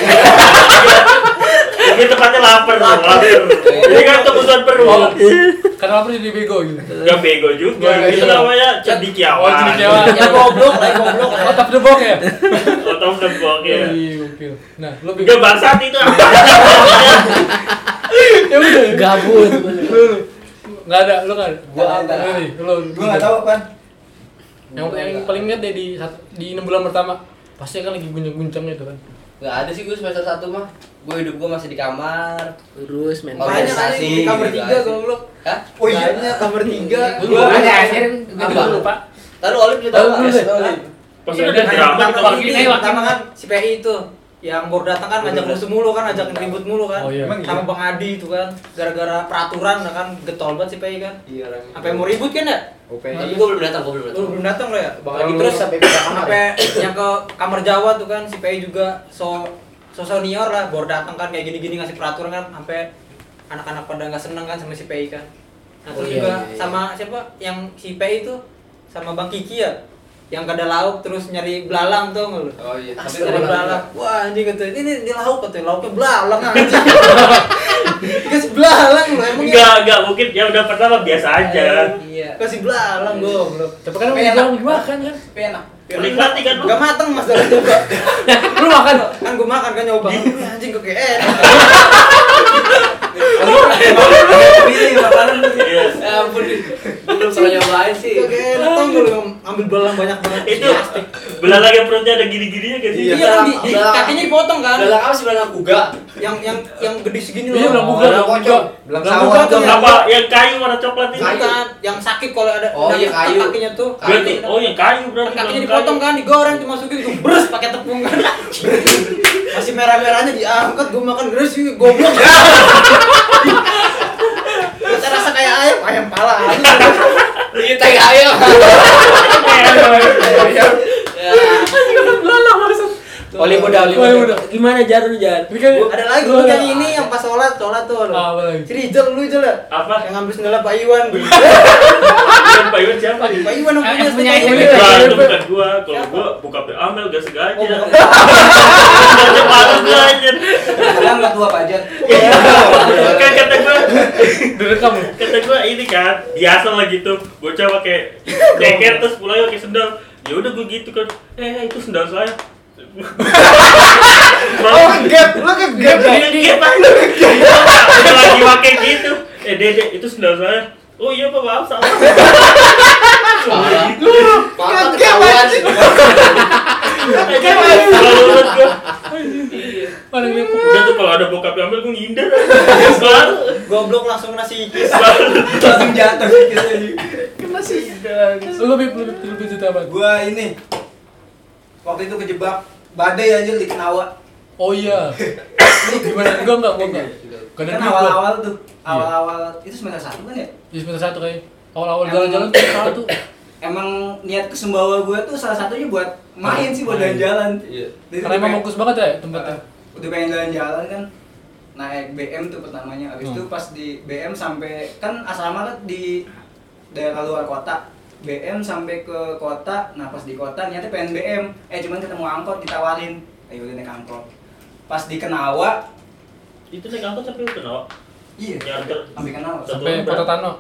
[SPEAKER 2] Ini tempatnya lapar, lapar.
[SPEAKER 1] Iya.
[SPEAKER 2] Ini kan kebutuhan perlu.
[SPEAKER 1] Oh, Karena lapar jadi bego gitu.
[SPEAKER 2] Gak bego juga.
[SPEAKER 1] Gak
[SPEAKER 2] Itu
[SPEAKER 1] bego.
[SPEAKER 2] namanya
[SPEAKER 1] Oh,
[SPEAKER 2] cendikiawan.
[SPEAKER 1] jadi kecewa.
[SPEAKER 10] Yang goblok, yang goblok.
[SPEAKER 1] Oh, tapi the box ya?
[SPEAKER 2] Out of the box ya.
[SPEAKER 1] Iya, gokil. Nah, lu bego.
[SPEAKER 2] Gak bangsat itu.
[SPEAKER 1] Ya udah.
[SPEAKER 6] gabut
[SPEAKER 1] Lu lu. nggak ada, lu nggak ada.
[SPEAKER 5] Gua ada.
[SPEAKER 1] Lu nih, Lu.
[SPEAKER 5] Gue nggak tahu kan.
[SPEAKER 1] Yang yang paling ingat deh di satu- di 6 bulan pertama pasti kan lagi guncang-guncangnya itu kan.
[SPEAKER 3] Enggak ada sih gue semester 1 mah. Gue hidup gue masih di kamar.
[SPEAKER 6] terus main
[SPEAKER 3] Banyak aja
[SPEAKER 6] PS.
[SPEAKER 3] di kamar tiga goblok. Hah?
[SPEAKER 7] Oh iya, kamar tiga.
[SPEAKER 1] Lu
[SPEAKER 3] ada
[SPEAKER 1] akhir
[SPEAKER 3] Apa?
[SPEAKER 1] gua lupa.
[SPEAKER 3] Taruh Olip cerita
[SPEAKER 1] Taruh
[SPEAKER 3] apa?
[SPEAKER 1] dulu
[SPEAKER 3] Ya,
[SPEAKER 1] deh.
[SPEAKER 3] taruh Olip.
[SPEAKER 2] Pasti
[SPEAKER 6] Iya.
[SPEAKER 2] ada drama di kamar
[SPEAKER 10] wakil
[SPEAKER 2] kita.
[SPEAKER 10] ini pertama kan si PI itu yang baru datang kan ngajak musuh mulu kan ngajak ribut mulu kan
[SPEAKER 1] Oh, iya.
[SPEAKER 7] Emang
[SPEAKER 10] sama Bang Adi itu kan gara-gara peraturan kan getol banget si PI kan
[SPEAKER 7] Iya, Ram.
[SPEAKER 10] sampai mau ribut kan ya
[SPEAKER 3] Tapi gue belum datang, gue belum datang.
[SPEAKER 10] lu belum datang lo ya
[SPEAKER 7] Bang
[SPEAKER 10] lagi
[SPEAKER 7] Adi
[SPEAKER 10] terus
[SPEAKER 7] sampai
[SPEAKER 10] sampai
[SPEAKER 7] pindah kamar
[SPEAKER 6] ya?
[SPEAKER 10] yang ke kamar Jawa tuh kan si PI juga so so senior lah baru datang kan kayak gini-gini ngasih peraturan kan sampai anak-anak pada nggak seneng kan sama si PI kan nah
[SPEAKER 6] Oh,
[SPEAKER 10] terus
[SPEAKER 6] iya,
[SPEAKER 10] juga
[SPEAKER 6] iya, iya.
[SPEAKER 10] sama siapa yang si PI itu sama Bang Kiki ya yang kada lauk terus nyari belalang tuh nggak lu
[SPEAKER 3] Oh iya, tapi
[SPEAKER 10] Asli
[SPEAKER 3] gue
[SPEAKER 10] ada belalang. Wah anjing gitu. Ini ini di lauk katanya. Lauknya belalang anjing. Guys belalang lu emang.
[SPEAKER 2] Enggak, enggak mungkin. Ya udah pertama biasa aja.
[SPEAKER 10] Iya. Kasih belalang goblok.
[SPEAKER 1] Tapi kan
[SPEAKER 10] Tapi
[SPEAKER 1] udah
[SPEAKER 10] enak.
[SPEAKER 1] bilang dimakan kan.
[SPEAKER 10] Tapi enak.
[SPEAKER 2] Menikmati kan lu.
[SPEAKER 10] Gak mateng masalahnya juga.
[SPEAKER 1] Lu makan.
[SPEAKER 10] Kan gua makan kan nyoba. Wah, Anjing kok kayak enak.
[SPEAKER 2] Iya.
[SPEAKER 3] Ya ampun. Gue belum pernah nyobain sih.
[SPEAKER 10] Kok kayak enak tau nggak lu ambil belalang banyak banget.
[SPEAKER 2] Itu belalang yang perutnya ada gini-gininya kayak
[SPEAKER 10] Iya
[SPEAKER 2] sih.
[SPEAKER 10] kan di, di kakinya dipotong kan.
[SPEAKER 3] Dalam apa sih bilang kuga?
[SPEAKER 10] Yang yang yang gede segini loh.
[SPEAKER 1] Iya, bilang buka,
[SPEAKER 7] Belang pocong. Belang sawah.
[SPEAKER 10] Belang pocong.
[SPEAKER 2] Apa yang kayu warna coklat itu?
[SPEAKER 10] Bukan, yang sakit kalau ada
[SPEAKER 3] Oh, iya,
[SPEAKER 10] ada
[SPEAKER 3] kayu.
[SPEAKER 10] kakinya tuh.
[SPEAKER 2] Berarti oh yang kayu
[SPEAKER 10] Kan
[SPEAKER 2] berarti.
[SPEAKER 10] kakinya
[SPEAKER 2] bukan
[SPEAKER 10] dipotong
[SPEAKER 2] kayu.
[SPEAKER 10] kan, digoreng dimasukin tuh beres pakai tepung kan. Masih merah-merahnya diangkat, gua makan beres sih goblok. Kita rasa kayak ayam, ayam pala.
[SPEAKER 3] Iya, tega ayo. Ya.
[SPEAKER 6] Oli udah, oli
[SPEAKER 1] Oli
[SPEAKER 6] udah.
[SPEAKER 1] udah.
[SPEAKER 6] Gimana Jar lu Jar?
[SPEAKER 1] Ini kan
[SPEAKER 10] Ada lagi tuh yang ini yang pas sholat, sholat tuh. lu.
[SPEAKER 1] Ah, apa lagi?
[SPEAKER 10] Si Rijal lu Rijal ya?
[SPEAKER 2] Apa?
[SPEAKER 10] Yang ngambil sendalnya Pak Iwan.
[SPEAKER 2] Bukan Pak Iwan siapa?
[SPEAKER 10] Pak Iwan yang
[SPEAKER 8] Ah,
[SPEAKER 10] punya
[SPEAKER 8] yang punya
[SPEAKER 10] sendal.
[SPEAKER 8] ini.
[SPEAKER 2] Bukan, itu bukan gua. Kalau gua buka Pak Amel gak sengaja.
[SPEAKER 10] Oh,
[SPEAKER 2] Gak
[SPEAKER 10] bukan.
[SPEAKER 2] ada males gua anjir.
[SPEAKER 5] Bilang nggak tua
[SPEAKER 3] Iya.
[SPEAKER 5] aja.
[SPEAKER 10] Iya.
[SPEAKER 2] Kan kata gua
[SPEAKER 1] direkam. lu.
[SPEAKER 2] kata gua ini kan biasa lah gitu bocah pakai jaket terus pulangnya pakai sendal ya udah gua gitu kan eh itu sendal saya
[SPEAKER 7] Oh,
[SPEAKER 1] Oh,
[SPEAKER 2] Bang,
[SPEAKER 7] gap, lu ke
[SPEAKER 2] Iya,
[SPEAKER 7] gap.
[SPEAKER 2] dia- dia- dia- dia lagi pakai gitu eh dede itu sendal saya Oh iya Pak, maaf salah.
[SPEAKER 7] Kan kawan.
[SPEAKER 2] Salah banget gua.
[SPEAKER 1] Paling lihat
[SPEAKER 2] Udah tuh kalau ada bokap yang ambil gua ngindar. Selalu.
[SPEAKER 11] Goblok langsung kena sikis.
[SPEAKER 2] Selalu.
[SPEAKER 3] langsung jatuh gitu aja.
[SPEAKER 1] lu bib lu bib lu bib cerita apa?
[SPEAKER 3] Gua ini waktu itu kejebak badai anjir di Kenawa.
[SPEAKER 1] Oh iya. Gimana? Gua enggak, gua enggak. Gak ada
[SPEAKER 3] Kan
[SPEAKER 1] duit Iya. gua.
[SPEAKER 3] awal-awal tuh, awal-awal itu semester satu kan ya.
[SPEAKER 1] Di semester satu kayak awal-awal jalan-jalan tuh salah tuh.
[SPEAKER 3] Emang niat ke Sumbawa gua tuh salah satunya buat main sih buat jalan-jalan.
[SPEAKER 12] Iya.
[SPEAKER 3] Jadi
[SPEAKER 1] Karena emang
[SPEAKER 3] kayak-
[SPEAKER 1] bagus banget ya tempatnya.
[SPEAKER 3] Uh, udah pengen jalan-jalan kan naik BM tuh pertamanya
[SPEAKER 1] Hmm.
[SPEAKER 3] abis itu pas di BM sampai kan asrama kan di daerah luar kota BM sampai ke kota nah pas di kota niatnya pengen BM eh cuman ketemu angkot ditawarin ayo udah naik angkot pas di Kenawa
[SPEAKER 2] Itu naik angkot tapi lu kenal.
[SPEAKER 3] iya
[SPEAKER 2] Nyarter.
[SPEAKER 3] sampai Kenawa
[SPEAKER 2] Satu
[SPEAKER 1] Sampai
[SPEAKER 2] orang
[SPEAKER 1] Kota Tano,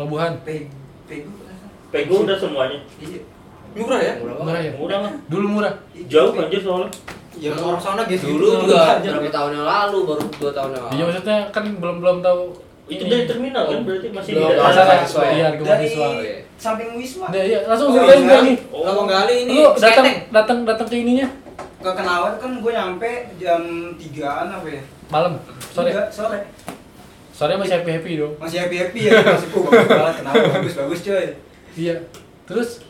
[SPEAKER 1] Labuhan.
[SPEAKER 3] sampai Pegu kan?
[SPEAKER 2] Pego udah semuanya.
[SPEAKER 3] iya
[SPEAKER 11] Murah ya?
[SPEAKER 1] Murah ya?
[SPEAKER 2] Murah mah.
[SPEAKER 1] Dulu murah.
[SPEAKER 2] Jauh anjir soalnya.
[SPEAKER 11] Ya orang sana gitu.
[SPEAKER 12] Dulu juga berapa tahun yang lalu, baru dua tahun
[SPEAKER 3] Ah.
[SPEAKER 12] yang
[SPEAKER 1] Iya
[SPEAKER 12] lalu.
[SPEAKER 1] maksudnya kan belum belum tahu
[SPEAKER 2] Itu
[SPEAKER 1] ini.
[SPEAKER 2] dari terminal kan berarti masih di
[SPEAKER 1] Iya, Belum
[SPEAKER 2] daerah.
[SPEAKER 1] harga
[SPEAKER 12] mahasiswa
[SPEAKER 1] mahasiswa.
[SPEAKER 12] ya?
[SPEAKER 1] Iya, harga
[SPEAKER 3] dari
[SPEAKER 1] mahasiswa.
[SPEAKER 3] samping Wisma
[SPEAKER 1] Nah, iya, langsung
[SPEAKER 3] Oh,
[SPEAKER 1] ceritain
[SPEAKER 3] iya.
[SPEAKER 1] gue ini.
[SPEAKER 2] Oh.
[SPEAKER 11] Lawang Gali ini
[SPEAKER 1] Lu datang
[SPEAKER 11] skateng.
[SPEAKER 1] datang datang ke ininya
[SPEAKER 3] ke Kenawa tuh kan gue nyampe jam 3an apa ya
[SPEAKER 1] malam. Sore.
[SPEAKER 3] Enggak, sore
[SPEAKER 1] Sore masih happy-happy dong.
[SPEAKER 3] masih happy happy ya masih "Puh, bagus banget Kenawa bagus bagus coy
[SPEAKER 1] Iya. Terus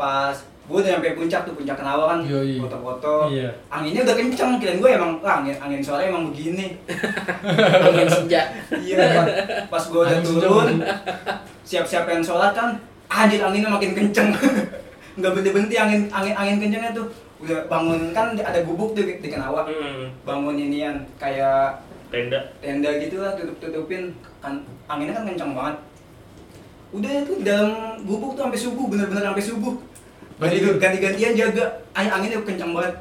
[SPEAKER 3] pas gue udah nyampe puncak tuh puncak kenawa kan
[SPEAKER 1] Yoi.
[SPEAKER 3] foto-foto
[SPEAKER 1] Iya.
[SPEAKER 3] anginnya udah kenceng kirain gue emang "Wah, angin angin sore emang begini
[SPEAKER 6] angin senja
[SPEAKER 3] iya pas, pas gue udah
[SPEAKER 1] Angin
[SPEAKER 3] turun siap-siap pengen sholat kan anjir anginnya makin kenceng nggak berhenti-berhenti angin angin angin kencengnya tuh udah bangun kan ada gubuk tuh di kenawa
[SPEAKER 2] Hmm,
[SPEAKER 3] bangun inian kayak
[SPEAKER 2] tenda.
[SPEAKER 3] tenda gitu lah tutup tutupin kan anginnya kan kencang banget udah itu di dalam gubuk tuh sampai subuh bener-bener sampai subuh
[SPEAKER 1] Nggak tidur?
[SPEAKER 3] ganti gantian jaga Ang- anginnya kencang banget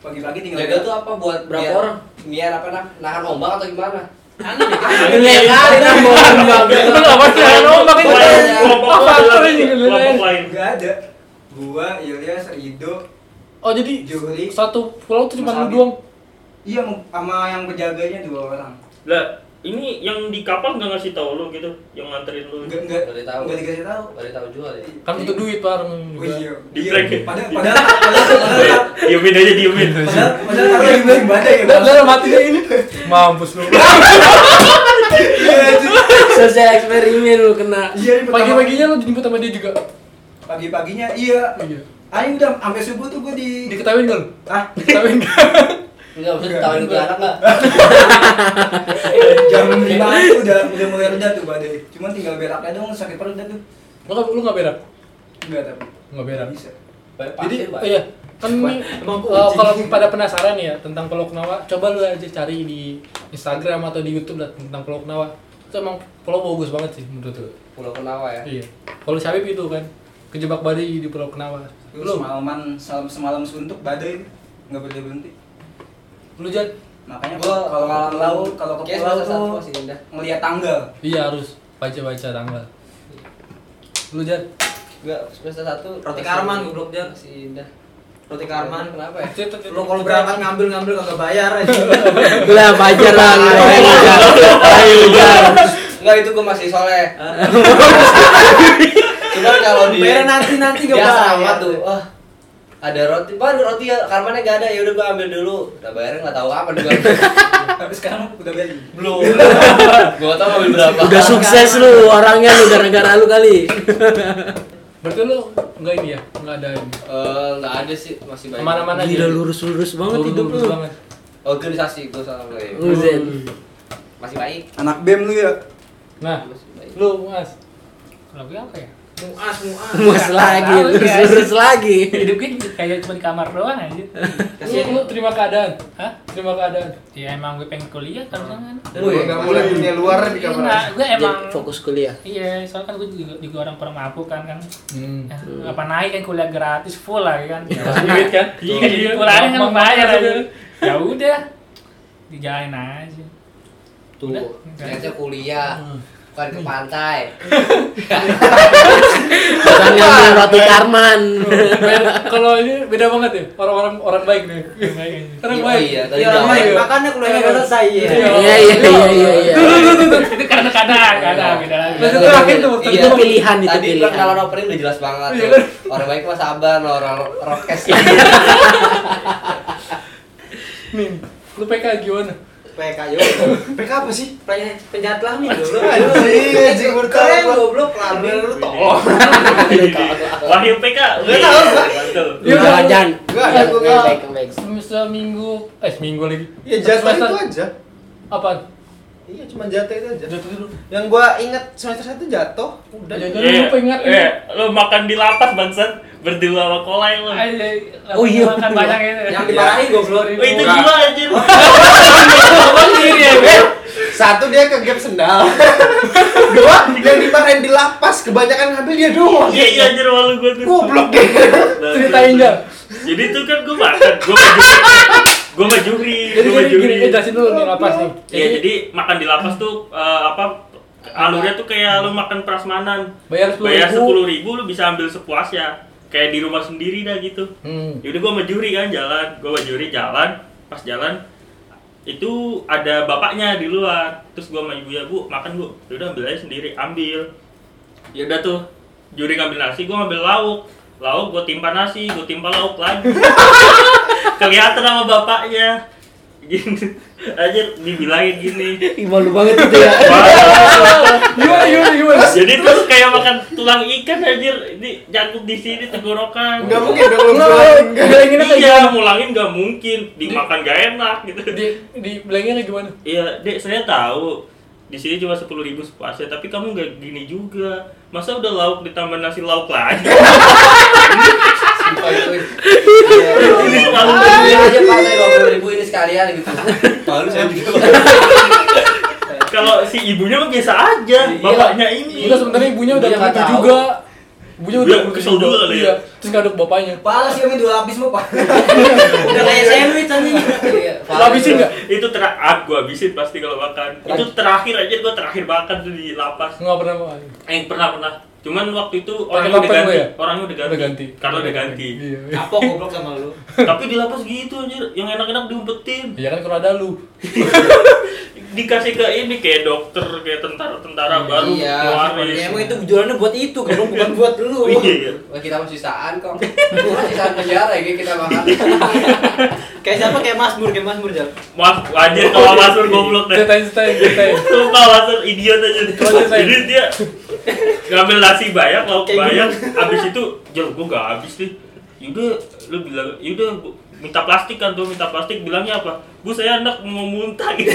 [SPEAKER 3] pagi-pagi tinggal
[SPEAKER 12] Jaga tuh apa buat
[SPEAKER 6] Berapa
[SPEAKER 3] Iya.
[SPEAKER 12] biar-
[SPEAKER 6] orang?
[SPEAKER 12] Biar apa nah, nahan ombak atau gimana?
[SPEAKER 6] Gila kali
[SPEAKER 1] iya.
[SPEAKER 6] kan bohong banget.
[SPEAKER 1] Lu apa sih? Lu makin
[SPEAKER 2] Kelompok-
[SPEAKER 1] Apa
[SPEAKER 2] kelompok
[SPEAKER 1] faktor
[SPEAKER 2] lain.
[SPEAKER 1] ini
[SPEAKER 2] Kelompok lain.
[SPEAKER 3] nggak ada gua Ilyas Rido
[SPEAKER 1] Oh, jadi
[SPEAKER 3] Juli
[SPEAKER 1] satu pulau tuh cuma
[SPEAKER 3] Mas
[SPEAKER 1] lu
[SPEAKER 3] Abi.
[SPEAKER 1] doang.
[SPEAKER 3] iya mau- sama yang penjaganya dua orang
[SPEAKER 2] Lah, ini yang di kapal nggak ngasih tahu lu gitu, yang nganterin lu.
[SPEAKER 3] nggak nggak
[SPEAKER 12] Nggak ditahu.
[SPEAKER 3] nggak dikasih tahu
[SPEAKER 12] Baru tahu jual ya.
[SPEAKER 1] Kan butuh duit bareng
[SPEAKER 3] Oh
[SPEAKER 1] juga.
[SPEAKER 3] iya,
[SPEAKER 2] Di
[SPEAKER 3] iya.
[SPEAKER 2] prank ya?
[SPEAKER 3] Padahal, padahal, padahal, padahal,
[SPEAKER 2] Diemin aja diemin.
[SPEAKER 3] padahal, padahal, taruh di bawah badai ya,
[SPEAKER 1] Dan
[SPEAKER 3] Bang.
[SPEAKER 1] dalam hatinya ini mampus lu.
[SPEAKER 6] Sosial eksperimen lu kena.
[SPEAKER 3] Iya, ini pertama-
[SPEAKER 1] Pagi-paginya lu dijemput sama dia juga.
[SPEAKER 3] pagi-paginya, iya,
[SPEAKER 1] Iya.
[SPEAKER 3] Ayo udah sampai subuh tuh gue di
[SPEAKER 1] Diketawain enggak lu?
[SPEAKER 3] ah
[SPEAKER 1] Diketawain enggak?
[SPEAKER 12] Enggak, maksudnya tawarin gue anak enggak?
[SPEAKER 3] jam lima tuh udah udah mulai reda tuh badai. Cuman tinggal beraknya dong sakit perut dah tuh.
[SPEAKER 1] Lu nggak- lu enggak berak?
[SPEAKER 3] Enggak tapi
[SPEAKER 1] Enggak berak.
[SPEAKER 3] bisa.
[SPEAKER 1] Jadi
[SPEAKER 12] Pasir, Pak.
[SPEAKER 1] oh iya kan ini uh, kalau pada penasaran ya tentang Pulau Kenawa, coba lu aja cari di Instagram atau di YouTube lah tentang Pulau Kenawa. Itu emang pulau bagus banget sih menurut lu.
[SPEAKER 12] Pulau Kenawa ya.
[SPEAKER 1] Iya. Kalau Syabib itu kan kejebak badai di Pulau Kenawa.
[SPEAKER 3] Lu
[SPEAKER 1] Lu
[SPEAKER 3] semalaman semalam, semalam suntuk badai nggak berhenti berhenti.
[SPEAKER 1] lu Jan?
[SPEAKER 3] Makanya
[SPEAKER 12] Gua
[SPEAKER 3] kalau kalau ke pulau kalau ke
[SPEAKER 12] kayak
[SPEAKER 3] pulau
[SPEAKER 12] semester
[SPEAKER 3] tuh
[SPEAKER 12] satu masih indah.
[SPEAKER 3] ngelihat tanggal.
[SPEAKER 1] Iya harus baca-baca tanggal. Lu Jan?
[SPEAKER 12] Enggak, semester 1.
[SPEAKER 11] Roti Karman, goblok, Jan.
[SPEAKER 12] Masih indah.
[SPEAKER 11] Roti Karman kenapa ya?
[SPEAKER 1] Cet, cet, cet.
[SPEAKER 11] Lu kalau berangkat ngambil-ngambil kagak bayar aja.
[SPEAKER 6] Lah pacar lah. Ayo Jan. Ayo Jan.
[SPEAKER 12] Enggak, itu gue masih soleh. Cuman kalau di
[SPEAKER 11] Bayar nanti-nanti gak
[SPEAKER 12] dia
[SPEAKER 11] bayar.
[SPEAKER 12] Ya, sama tuh. Wah. Ada roti, baru roti ya, karmannya gak ada, yaudah gue ambil dulu Udah bayarnya gak tahu apa juga
[SPEAKER 3] Tapi sekarang udah beli.
[SPEAKER 12] Belum Gue tau ambil berapa
[SPEAKER 6] Udah sukses lu orangnya lu gara-gara lu kali.
[SPEAKER 1] Berarti lu enggak ini ya? Enggak ada ini.
[SPEAKER 12] Eh, Nggak ada sih, masih banyak
[SPEAKER 1] Kemana-mana aja.
[SPEAKER 6] Gila lurus-lurus banget hidup
[SPEAKER 1] Lurus
[SPEAKER 6] lu.
[SPEAKER 1] banget.
[SPEAKER 12] Organisasi, gue salah mulai
[SPEAKER 1] Hmm.
[SPEAKER 6] Uzet.
[SPEAKER 12] ya. Masih baik
[SPEAKER 3] Anak BEM lu ya.
[SPEAKER 1] Nah,
[SPEAKER 12] Masih baik
[SPEAKER 1] lu Mas. Kenapa apa ya?
[SPEAKER 11] Muas, muas.
[SPEAKER 6] Mas lagi, lurus-lurus lagi.
[SPEAKER 8] hidup gue kayak cuma di kamar doang aja
[SPEAKER 1] Lu, lu terima keadaan. Hah? Terima keadaan.
[SPEAKER 8] ya emang gue pengen kuliah kan kan
[SPEAKER 7] Wih, nggak boleh punya luar di kamar.
[SPEAKER 8] Enggak, gue emang
[SPEAKER 6] Jadi fokus kuliah.
[SPEAKER 8] iya soalnya kan gue juga, juga orang pernah mabuk kan kan
[SPEAKER 1] Hmm.
[SPEAKER 8] Eh, apa naik kan kuliah gratis full lah kan
[SPEAKER 1] duit kan?
[SPEAKER 8] iya kuliah kan bayar aja ya udah dijalanin aja
[SPEAKER 12] Tuh, ternyata kuliah
[SPEAKER 13] bukan ke pantai
[SPEAKER 6] Orang yang beli roti karman.
[SPEAKER 1] Beda- kalau ini beda banget ya orang-orang orang baik nih orang baik
[SPEAKER 3] Iya, tadi
[SPEAKER 10] Iya, orang
[SPEAKER 3] udah-
[SPEAKER 10] baik. Makanya kuliah nggak selesai ya.
[SPEAKER 6] Iya iya iya iya. iya.
[SPEAKER 8] itu karena kadang kadang beda lagi
[SPEAKER 1] Nah, itu terakhir tuh,
[SPEAKER 3] Iya,
[SPEAKER 1] itu
[SPEAKER 6] pilihan, itu
[SPEAKER 3] tadi
[SPEAKER 6] pilihan.
[SPEAKER 3] kalau opening udah jelas banget
[SPEAKER 1] Iya
[SPEAKER 3] tuh.
[SPEAKER 1] kan?
[SPEAKER 3] orang baik mah sabar nah orang rokes
[SPEAKER 1] nih lu PK gimana
[SPEAKER 10] PK yo.
[SPEAKER 7] PK apa sih?
[SPEAKER 10] Penjahat penjahat lah nih dulu.
[SPEAKER 7] Iya, anjing
[SPEAKER 10] Keren
[SPEAKER 7] bertolak.
[SPEAKER 10] eh, goblok lah. Lu Iya,
[SPEAKER 2] tolong. Oh. Wahyu PK. Enggak
[SPEAKER 7] tahu gua.
[SPEAKER 1] Iya,
[SPEAKER 6] Jangan,
[SPEAKER 1] udah.
[SPEAKER 6] jangan.
[SPEAKER 7] Enggak ada gua
[SPEAKER 1] Iya.
[SPEAKER 7] enggak.
[SPEAKER 13] baik baik
[SPEAKER 1] seminggu eh seminggu lagi
[SPEAKER 7] Ya jatah
[SPEAKER 1] Semester-
[SPEAKER 7] itu aja.
[SPEAKER 1] apaan
[SPEAKER 7] Iya, cuma jatah itu aja.
[SPEAKER 1] jatuh dulu
[SPEAKER 7] Yang gua inget semester 1 jatuh, udah.
[SPEAKER 1] Jangan lu lupa ingat
[SPEAKER 2] Iya, Lu makan di lapas bangsat berdua sama kolai lu.
[SPEAKER 6] Oh, iya.
[SPEAKER 8] makan kan banyak ya. itu
[SPEAKER 10] yang dimarahin goblok.
[SPEAKER 2] Oh, itu gila anjir.
[SPEAKER 7] Satu dia ke gap sendal. Dua yang dimarahin di lapas, kebanyakan ngambil dia doang.
[SPEAKER 2] Iya iya anjir malu gua tuh.
[SPEAKER 7] Goblok deh.
[SPEAKER 2] Nah,
[SPEAKER 1] ceritain
[SPEAKER 2] terus-
[SPEAKER 1] Jar.
[SPEAKER 2] Jadi tuh kan gua makan, gua majuri. Gua majuri,
[SPEAKER 1] jadi
[SPEAKER 2] gua
[SPEAKER 1] jadi gini
[SPEAKER 2] majuri.
[SPEAKER 1] eh, jelasin dulu nih lapas nih
[SPEAKER 2] Iya, jadi makan di lapas tuh eh, apa alurnya tuh kayak lu makan prasmanan.
[SPEAKER 1] bayar sepuluh
[SPEAKER 2] Bayar
[SPEAKER 1] ribu
[SPEAKER 2] sepuluh ribu lu bisa ambil sepuasnya. Kayak di rumah sendiri dah gitu.
[SPEAKER 1] hmm.
[SPEAKER 2] Yaudah gua sama juri kan jalan, gua sama juri jalan, pas jalan itu ada bapaknya di luar, terus gua sama ibunya bu makan bu, yaudah ambil aja sendiri, ambil, yaudah tuh juri ngambil nasi, gua ngambil lauk, lauk gua timpa nasi, gua timpa lauk lagi, kelihatan sama bapaknya, gitu, aja dibilangin gini,
[SPEAKER 6] Ih, malu banget
[SPEAKER 7] gitu
[SPEAKER 6] itu ya.
[SPEAKER 1] gimana gimana gimana
[SPEAKER 2] jadi terus kayak makan tulang ikan anjir, ini jatuh di sini tenggorokan,
[SPEAKER 7] Enggak mungkin dong lu
[SPEAKER 1] Nggak,
[SPEAKER 7] keluarin
[SPEAKER 1] nggak, bilanginnya kayak
[SPEAKER 2] iya mulangin gak mungkin, dimakan gak enak gitu.
[SPEAKER 1] di di bilangnya kayak gimana
[SPEAKER 2] Iya, Dek, saya tahu. Di sini cuma sepuluh ribu sepuasnya, tapi kamu nggak gini juga. Masa udah lauk ditambah nasi lauk lagi? Ini terlalu
[SPEAKER 3] Iya aja pantai dua ribu ini sekalian gitu malu saya juga
[SPEAKER 2] Kalau si ibunya mah biasa aja, bapaknya ini.
[SPEAKER 1] Enggak sebenarnya ibunya Iya. udah
[SPEAKER 3] Dia nggak
[SPEAKER 1] begitu
[SPEAKER 3] tahu.
[SPEAKER 1] juga. Ibunya udah
[SPEAKER 2] Dia kesel
[SPEAKER 1] begitu
[SPEAKER 2] juga kali ya.
[SPEAKER 1] Terus ngaduk bapaknya.
[SPEAKER 10] Pala sih kami dua lapis mau pak. Udah kayak sandwich anjing.
[SPEAKER 3] Iya,
[SPEAKER 1] Lu habisin enggak?
[SPEAKER 2] Itu terakhir gua habisin pasti kalau makan. Itu terakhir aja gua terakhir makan tuh di lapas.
[SPEAKER 1] Enggak pernah makan.
[SPEAKER 2] Eh, pernah pernah. Cuman waktu itu
[SPEAKER 1] Pakai
[SPEAKER 2] orangnya udah
[SPEAKER 1] topeng
[SPEAKER 2] ganti,
[SPEAKER 1] gua ya?
[SPEAKER 2] orangnya udah ganti.
[SPEAKER 1] Udah ganti.
[SPEAKER 2] Karena udah ganti.
[SPEAKER 1] Iya.
[SPEAKER 10] Apa goblok sama lu?
[SPEAKER 2] Tapi di lapas gitu anjir, yang enak-enak diumpetin.
[SPEAKER 1] Iya kan kalau ada lu.
[SPEAKER 2] Dikasih ke ini kayak dokter, kayak tentara-tentara baru
[SPEAKER 3] Iya,
[SPEAKER 2] keluarin.
[SPEAKER 10] Ya emang itu jualannya buat itu, goblok bukan buat lu.
[SPEAKER 2] Iya, iya.
[SPEAKER 3] Wah, kita masih sisaan kok Cuma sisaan penjara ya kita makan
[SPEAKER 10] Iya. Kayak siapa kayak Masmur, kayak Masmur jal.
[SPEAKER 2] Mas, anjir kalau Masur goblok deh.
[SPEAKER 1] Ceritain ceritain ceritain.
[SPEAKER 2] Sumpah Masur Eh, idiot aja.
[SPEAKER 1] Lanjut, Tay.
[SPEAKER 2] Jadi dia ngambil nasi banyak, lauk
[SPEAKER 10] Kayak
[SPEAKER 2] banyak. Abis itu, jel gua gak habis nih. Yaudah, lu bilang, yaudah Bu, minta plastik kan tuh minta plastik bilangnya apa bu saya anak mau muntah gitu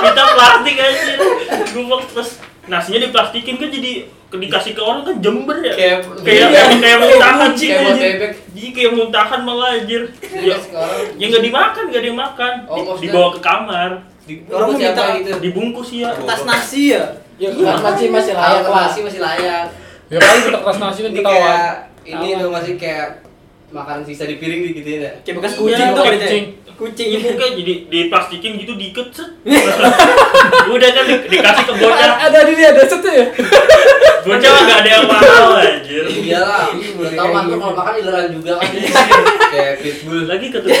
[SPEAKER 2] minta plastik aja gua terus nasinya diplastikin kan jadi ke- dikasih ke orang kan jember ya kayak
[SPEAKER 3] Kayak-
[SPEAKER 2] kayak
[SPEAKER 3] iya.
[SPEAKER 2] kayak muntahan sih
[SPEAKER 3] Kayak
[SPEAKER 2] anjir.
[SPEAKER 3] bebek.
[SPEAKER 2] jadi kayak muntahan malah anjir
[SPEAKER 3] Jadi
[SPEAKER 10] Iya.
[SPEAKER 2] ya
[SPEAKER 3] sekarang
[SPEAKER 2] ya nggak dimakan nggak ada yang makan
[SPEAKER 3] Oh, maksudnya-
[SPEAKER 2] dibawa ke kamar
[SPEAKER 10] Orang mau minta
[SPEAKER 3] siapa gitu
[SPEAKER 2] dibungkus ya
[SPEAKER 10] kertas nasi ya.
[SPEAKER 6] Iya,
[SPEAKER 1] Ya
[SPEAKER 13] Kan masih masih
[SPEAKER 3] Kalau
[SPEAKER 13] layak lah
[SPEAKER 3] masih masih layak
[SPEAKER 1] Ya paling kita keras nasi kan
[SPEAKER 3] ini
[SPEAKER 1] ketawa.
[SPEAKER 3] kayak ini tuh masih kayak makanan sisa di piring gitu ya
[SPEAKER 10] Kayak bekas
[SPEAKER 2] Iya,
[SPEAKER 10] kucing tuh
[SPEAKER 2] kayak
[SPEAKER 10] gitu ya.
[SPEAKER 1] kucing.
[SPEAKER 10] Kucing
[SPEAKER 2] Iya
[SPEAKER 10] itu.
[SPEAKER 2] kayak jadi diplastikin gitu diikat set udah kan di- dikasih ke bocah
[SPEAKER 1] A- Ada di dia ada set ya.
[SPEAKER 2] bocah mah nggak ada yang mahal anjir
[SPEAKER 3] iyalah
[SPEAKER 10] Iya,
[SPEAKER 3] udah tau kan
[SPEAKER 10] gitu.
[SPEAKER 3] tuh kalau Iya makan ileran juga kan kayak pitbull
[SPEAKER 2] lagi ketemu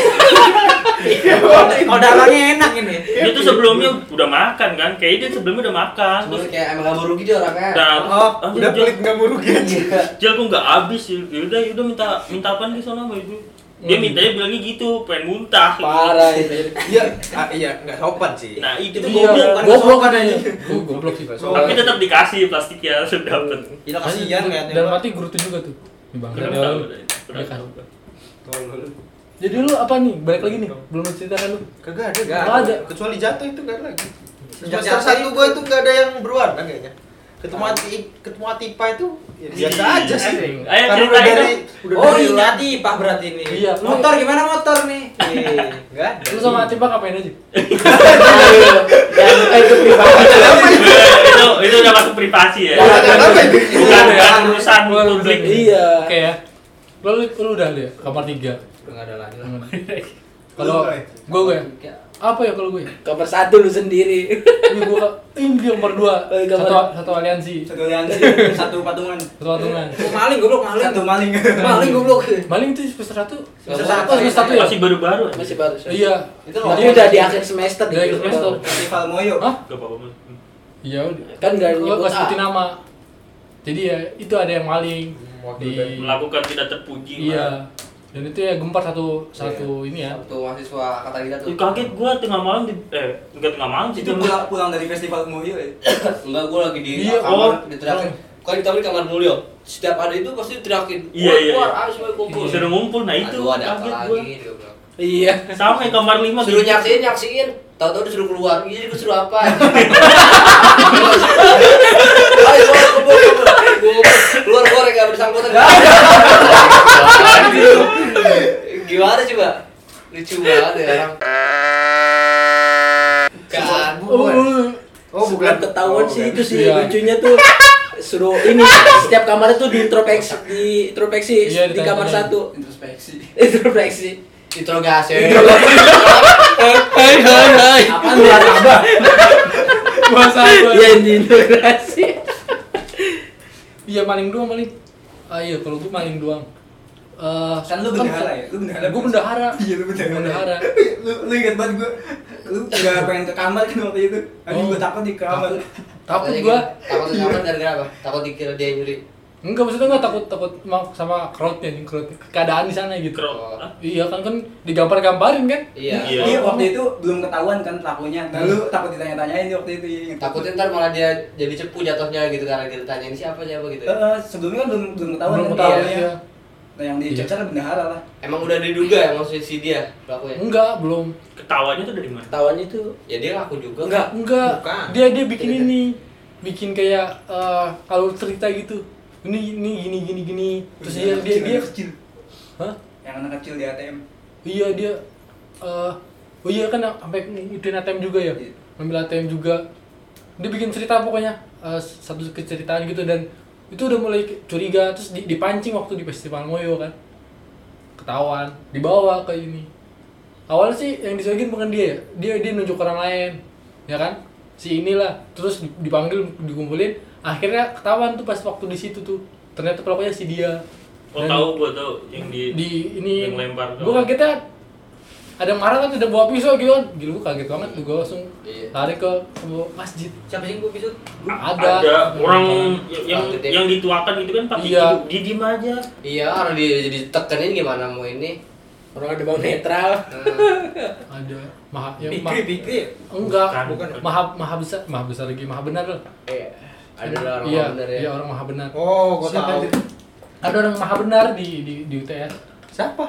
[SPEAKER 10] Oh darahnya enak ini.
[SPEAKER 2] dia tuh sebelumnya udah makan kan kayaknya dia sebelumnya udah makan
[SPEAKER 3] Cuma
[SPEAKER 2] terus
[SPEAKER 3] kayak emang gak rugi dia orangnya
[SPEAKER 10] Nah,
[SPEAKER 2] udah
[SPEAKER 7] Oh,
[SPEAKER 2] anjir,
[SPEAKER 7] udah
[SPEAKER 2] Jel.
[SPEAKER 7] pelit nggak mau rugi aja.
[SPEAKER 2] Jel kok nggak habis ya yaudah yaudah minta minta apa nih sana sama ibu dia mintanya bilangnya gitu pengen muntah
[SPEAKER 6] Parah itu.
[SPEAKER 7] Iya, ah, iya nggak sopan sih.
[SPEAKER 2] nah itu
[SPEAKER 10] Itu
[SPEAKER 2] goblok
[SPEAKER 10] goblok
[SPEAKER 2] kan.
[SPEAKER 10] kan.
[SPEAKER 1] Goblok kan aja. Gua goblok sih Pak.
[SPEAKER 2] tapi tetap dikasih plastiknya sudah dapet
[SPEAKER 1] Iya,
[SPEAKER 10] Gila kasihan kayaknya.
[SPEAKER 1] Dalam hati gerutu juga tuh. Ih, Bangsa
[SPEAKER 2] Udah
[SPEAKER 1] dia
[SPEAKER 2] tahu,
[SPEAKER 1] lu.
[SPEAKER 2] udah- udah
[SPEAKER 1] Dia
[SPEAKER 2] tahu.
[SPEAKER 1] Jadi lu apa nih? Balik lagi nih. Belum lu ceritakan lu.
[SPEAKER 7] Kagak ada,
[SPEAKER 1] Nggak
[SPEAKER 7] nggak
[SPEAKER 1] ada.
[SPEAKER 7] Kecuali jatuh itu nggak ada lagi.
[SPEAKER 10] Sejak jatuh
[SPEAKER 7] Semester satu gua tuh nggak ada yang berwarna kayaknya. Ketemu ati, ketemu atipa itu ya biasa aja sih.
[SPEAKER 2] Ayo
[SPEAKER 7] Karena
[SPEAKER 2] eh,
[SPEAKER 7] udah
[SPEAKER 2] ceritain
[SPEAKER 7] dari, udah
[SPEAKER 10] Oh
[SPEAKER 7] dari
[SPEAKER 10] ini tadi Pak berarti ini.
[SPEAKER 1] Iya, lu-
[SPEAKER 10] Motor gimana motor nih?
[SPEAKER 7] Nggak ada.
[SPEAKER 1] Lu sama Atipa ngapain aja?
[SPEAKER 6] Dan itu pribadi.
[SPEAKER 2] Iya, itu itu udah masuk privasi ya
[SPEAKER 7] Nggak ada apa itu?
[SPEAKER 2] bukan bukan urusan publik
[SPEAKER 6] Iya.
[SPEAKER 1] Oke ya. Lu lu lu udah lu ya? Kamar tiga
[SPEAKER 3] udah gak ada lagi lah
[SPEAKER 1] Kalau
[SPEAKER 7] Lu apa ya?
[SPEAKER 1] gua gua ya. apa ya kalau gue?
[SPEAKER 6] Kamar satu lu sendiri.
[SPEAKER 1] Gue gue ini dia nomor dua.
[SPEAKER 6] Oh, iya,
[SPEAKER 1] Satu
[SPEAKER 6] kamar.
[SPEAKER 1] satu aliansi,
[SPEAKER 5] Satu aliansi, satu patungan.
[SPEAKER 1] satu patungan.
[SPEAKER 10] maling goblok maling.
[SPEAKER 5] Satu maling.
[SPEAKER 10] Maling goblok.
[SPEAKER 1] Maling itu semester satu.
[SPEAKER 10] Semester
[SPEAKER 1] Oh,
[SPEAKER 10] satu.
[SPEAKER 1] semester satu ya?
[SPEAKER 2] Masih baru-baru.
[SPEAKER 6] Masih baru. sorry.
[SPEAKER 1] Iya.
[SPEAKER 5] Itu
[SPEAKER 6] Tapi
[SPEAKER 5] ngomong-
[SPEAKER 6] udah di gitu. akhir semester.
[SPEAKER 1] Di akhir semester. gitu.
[SPEAKER 5] Festival Moyo.
[SPEAKER 1] Hah?
[SPEAKER 2] Gak apa-apa. Hmm.
[SPEAKER 1] Iya. udah.
[SPEAKER 6] Kan nggak
[SPEAKER 1] Gue
[SPEAKER 6] nyebut
[SPEAKER 1] nggak sebutin
[SPEAKER 6] A.
[SPEAKER 1] nama. Jadi ya itu ada yang maling
[SPEAKER 7] Wakil
[SPEAKER 1] di
[SPEAKER 7] band.
[SPEAKER 2] Melakukan tidak terpuji. Mas.
[SPEAKER 1] Iya. Dan itu ya gempar satu satu ini ya.
[SPEAKER 3] Waktu mahasiswa kata kita tuh
[SPEAKER 2] Ih, Kaget gua tengah malam di eh enggak tengah malam sih.
[SPEAKER 5] Itu
[SPEAKER 2] tengah-
[SPEAKER 5] pulang pulang dari Festival Moyo ya.
[SPEAKER 3] Enggak, gue lagi di
[SPEAKER 1] Iya, oh.
[SPEAKER 3] kamar diteriakin Kan kita di kamar mulia Setiap ada itu pasti diteriakin
[SPEAKER 2] Iya,
[SPEAKER 3] "Keluar,
[SPEAKER 2] iya,
[SPEAKER 3] Keluar,
[SPEAKER 2] iya.
[SPEAKER 3] ayo semua kumpul
[SPEAKER 2] Suruh ngumpul nah itu.
[SPEAKER 3] Aduh, ada apa
[SPEAKER 2] kaget gua.
[SPEAKER 3] lagi dia bilang.
[SPEAKER 6] Iya.
[SPEAKER 2] Sama yang kamar lima
[SPEAKER 3] Suruh
[SPEAKER 2] gitu.
[SPEAKER 3] nyaksiin, nyaksiin Tau-tau disuruh keluar Iya, jadi gue suruh apa Ayo, keluar, kumpul, kumpul. Kumpul. Keluar, keluar, gak bersangkutan Gimana coba? Lucu banget ya orang Kan
[SPEAKER 7] Oh, bukan.
[SPEAKER 6] Sebelum ketahuan
[SPEAKER 7] Oh,
[SPEAKER 6] sih
[SPEAKER 5] kan?
[SPEAKER 7] bukan.
[SPEAKER 6] itu sih
[SPEAKER 1] Iya.
[SPEAKER 6] lucunya tuh suruh ini setiap kamar tuh diintrospeksi diintrospeksi
[SPEAKER 1] Iya,
[SPEAKER 6] di kamar
[SPEAKER 1] ditanya-tanya.
[SPEAKER 6] satu
[SPEAKER 5] Introspeksi.
[SPEAKER 6] introspeksi
[SPEAKER 3] Interogasi
[SPEAKER 1] Hai hai hai.
[SPEAKER 6] apa tuh apa
[SPEAKER 1] Bahasa apa?
[SPEAKER 6] ya diintrospeksi
[SPEAKER 1] Iya maling doang maling. Ah iya kalau gue maling doang. Eh,
[SPEAKER 5] Kan lu bendahara ya? Lu bendahara.
[SPEAKER 1] Gue bendahara.
[SPEAKER 5] Iya, lu bendahara.
[SPEAKER 1] Bendahara.
[SPEAKER 5] lu, lu ingat banget gue lu nggak pengen ke kamar kan waktu itu aduh
[SPEAKER 1] Oh.
[SPEAKER 5] gue takut di kamar
[SPEAKER 1] Takut. Takut gua.
[SPEAKER 3] Takut kenapa gara-gara apa? Takut dikira dia nyuri
[SPEAKER 1] Enggak maksudnya enggak takut takut ma- sama crowdnya nih crowd keadaan di sana gitu.
[SPEAKER 2] Kerok.
[SPEAKER 3] Oh.
[SPEAKER 2] Hah?
[SPEAKER 1] Iya kan kan digampar-gamparin kan?
[SPEAKER 3] Iya
[SPEAKER 2] Iya.
[SPEAKER 5] iya waktu itu belum ketahuan kan pelakunya nah lu takut ditanya-tanyain waktu itu iya.
[SPEAKER 3] Takutnya ntar malah dia jadi cepu jatuhnya gitu karena ditanyain siapa siapa gitu.
[SPEAKER 5] Eh, eh, sebelumnya kan belum belum ketahuan
[SPEAKER 1] Belum
[SPEAKER 5] kan
[SPEAKER 1] ketahuan,
[SPEAKER 5] pelakunya.
[SPEAKER 1] iya.
[SPEAKER 5] nah yang dicecar bendahara lah
[SPEAKER 3] Emang udah diduga ya maksudnya si dia pelakunya?
[SPEAKER 1] Enggak, belum.
[SPEAKER 2] Ketawanya tuh dari mana?
[SPEAKER 6] ketahuan itu
[SPEAKER 3] Ya dia ngaku juga.
[SPEAKER 6] Enggak.
[SPEAKER 1] Enggak.
[SPEAKER 7] Bukan.
[SPEAKER 1] Dia dia bikin
[SPEAKER 3] Tidak.
[SPEAKER 1] ini. Bikin kayak eh alur cerita gitu. Ini ini gini gini gini. Terus dia dia
[SPEAKER 5] Yang kecil,
[SPEAKER 1] dia
[SPEAKER 5] yang Iya, kecil
[SPEAKER 1] Hah?
[SPEAKER 5] yang anak kecil di ATM
[SPEAKER 1] Iya dia eh Oh iya kan sampai ngikutin ATM juga ya.
[SPEAKER 5] Iya.
[SPEAKER 1] Ngambil ATM juga. Dia bikin cerita pokoknya eh, satu keceritaan gitu dan itu udah mulai curiga terus di- dipancing waktu di festival Moyo kan. Ketahuan, dibawa ke ini. Awalnya sih yang disogin bukan dia ya. Dia dia nunjuk orang lain. Ya kan? Si inilah terus dipanggil dikumpulin akhirnya ketahuan tuh pas waktu di situ tuh. Ternyata pelakunya si dia.
[SPEAKER 2] Oh
[SPEAKER 1] Dan-
[SPEAKER 2] tahu gua tahu yang di
[SPEAKER 1] di ini
[SPEAKER 2] yang lempar.
[SPEAKER 1] gue kagetnya ada yang marah kan ada bawa pisau gitu kan gila gue kaget banget gue langsung
[SPEAKER 3] Iya.
[SPEAKER 1] lari ke, ke masjid
[SPEAKER 10] Siapa sih yang gua pisut?
[SPEAKER 1] ada
[SPEAKER 2] orang
[SPEAKER 3] Orang
[SPEAKER 2] yang
[SPEAKER 3] gede.
[SPEAKER 2] yang dituakan gitu kan pakai
[SPEAKER 1] Iya.
[SPEAKER 2] di didiem aja.
[SPEAKER 3] Iya orang dia jadi tekenin gimana mau ini? Hmm.
[SPEAKER 6] orang ada bang netral
[SPEAKER 1] ada maha yang ma
[SPEAKER 10] Bikri, bikri.
[SPEAKER 1] enggak
[SPEAKER 2] Bukan,
[SPEAKER 1] bukan,
[SPEAKER 2] bukan.
[SPEAKER 1] maha maha besar maha besar lagi maha benar lah
[SPEAKER 3] Iya. Ada lah orang
[SPEAKER 1] iya,
[SPEAKER 3] bener ya.
[SPEAKER 1] iya orang maha benar
[SPEAKER 7] Oh, gua tahu.
[SPEAKER 1] ada orang maha benar di di di UTS
[SPEAKER 7] Siapa?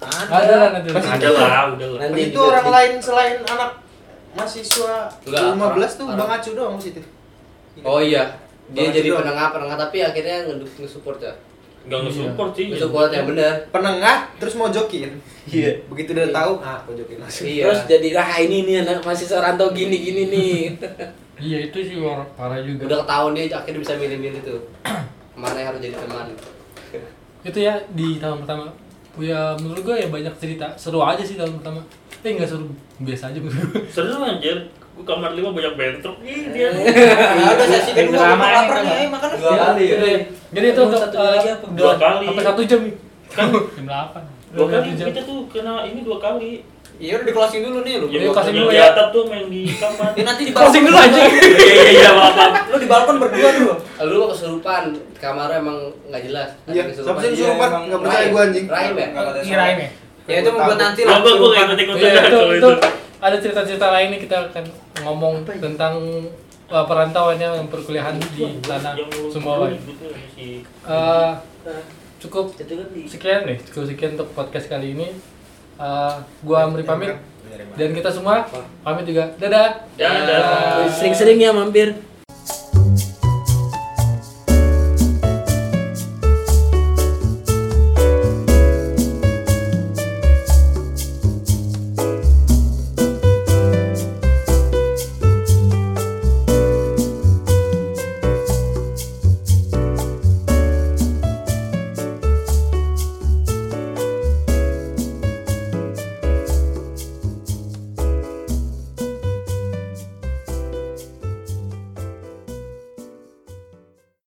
[SPEAKER 1] ada lah nanti
[SPEAKER 7] Pasti
[SPEAKER 2] Ada lah, udah lah.
[SPEAKER 6] Nanti
[SPEAKER 7] itu
[SPEAKER 6] juga
[SPEAKER 7] orang
[SPEAKER 6] sih.
[SPEAKER 7] lain selain anak mahasiswa
[SPEAKER 3] Enggak,
[SPEAKER 7] 15 tuh
[SPEAKER 3] orang-
[SPEAKER 7] Bang Acu doang di situ.
[SPEAKER 3] Oh iya. Dia
[SPEAKER 7] Banget
[SPEAKER 3] jadi
[SPEAKER 7] juga.
[SPEAKER 3] penengah penengah tapi akhirnya ngeduk ngesupport ya.
[SPEAKER 2] Enggak nge-support sih.
[SPEAKER 3] Ngesupport ya, yang benar.
[SPEAKER 7] Penengah terus mau jokin.
[SPEAKER 6] Iya.
[SPEAKER 7] Begitu udah
[SPEAKER 6] Iya.
[SPEAKER 7] tahu, ah mau jokin langsung.
[SPEAKER 3] Iya.
[SPEAKER 6] terus jadi ah ini nih anak masih seorang tau gini gini nih
[SPEAKER 1] iya itu sih orang parah juga
[SPEAKER 3] Udah ketahuan dia akhirnya bisa milih-milih tuh. Mana yang harus jadi teman.
[SPEAKER 1] itu ya di tahun pertama ya menurut gue ya banyak cerita seru aja sih tahun pertama eh nggak seru biasa aja menurut gue
[SPEAKER 2] Seru anjir. Gua kamar lima banyak bentrok nih dia.
[SPEAKER 6] Iya.
[SPEAKER 10] Ya udah sesi kedua gua
[SPEAKER 8] Drama
[SPEAKER 10] mau
[SPEAKER 8] yang
[SPEAKER 10] lapar
[SPEAKER 8] kedua.
[SPEAKER 10] nih, ayo makan.
[SPEAKER 5] Dua kali ya?
[SPEAKER 1] Iya. Jadi itu
[SPEAKER 6] Emang satu jam
[SPEAKER 1] eh,
[SPEAKER 6] lagi apa?
[SPEAKER 1] udah
[SPEAKER 2] Dua kali.
[SPEAKER 1] Sampai satu jam nih. Kan jam delapan.
[SPEAKER 2] Dua
[SPEAKER 1] Udah
[SPEAKER 2] kali
[SPEAKER 1] satu jam.
[SPEAKER 2] kita tuh kena ini dua kali.
[SPEAKER 10] Iya udah di closing dulu nih lu.
[SPEAKER 1] Iya.
[SPEAKER 2] Yang
[SPEAKER 1] kasih
[SPEAKER 2] yang
[SPEAKER 1] dulu
[SPEAKER 2] di
[SPEAKER 1] ya.
[SPEAKER 2] atap tuh main di kamar.
[SPEAKER 10] Ya nanti di
[SPEAKER 1] Closing dulu aja.
[SPEAKER 2] Iya iya iya maaf.
[SPEAKER 10] Lu di balkon berdua dulu.
[SPEAKER 3] Lu kesurupan kamarnya emang nggak jelas. Ada
[SPEAKER 7] Iya,
[SPEAKER 3] kesurupan.
[SPEAKER 7] siapa sih yang
[SPEAKER 5] Iya,
[SPEAKER 7] disuruh empat?
[SPEAKER 5] emang
[SPEAKER 7] Enggak percaya
[SPEAKER 3] Rahim.
[SPEAKER 7] gua anjing.
[SPEAKER 3] Rahim ya?
[SPEAKER 5] Nggak ada
[SPEAKER 8] Kirain ya.
[SPEAKER 10] Ya itu buat nanti lah.
[SPEAKER 2] Gua gua gua ikut ikut
[SPEAKER 1] Iya, itu,
[SPEAKER 2] kalau
[SPEAKER 1] itu
[SPEAKER 2] itu.
[SPEAKER 1] ada cerita-cerita lain nih kita akan ngomong tentang uh, perantauannya yang perkuliahan di tanah
[SPEAKER 2] Yang lu-
[SPEAKER 1] Sumbawa.
[SPEAKER 2] lu ributnya si-
[SPEAKER 1] Eh, cukup
[SPEAKER 6] itu kan di
[SPEAKER 1] sekian nih, cukup sekian untuk podcast kali ini. Eh, gua Amri pamit dan kita semua pamit juga. Dadah.
[SPEAKER 3] Dadah.
[SPEAKER 2] ya.
[SPEAKER 6] sering-sering ya mampir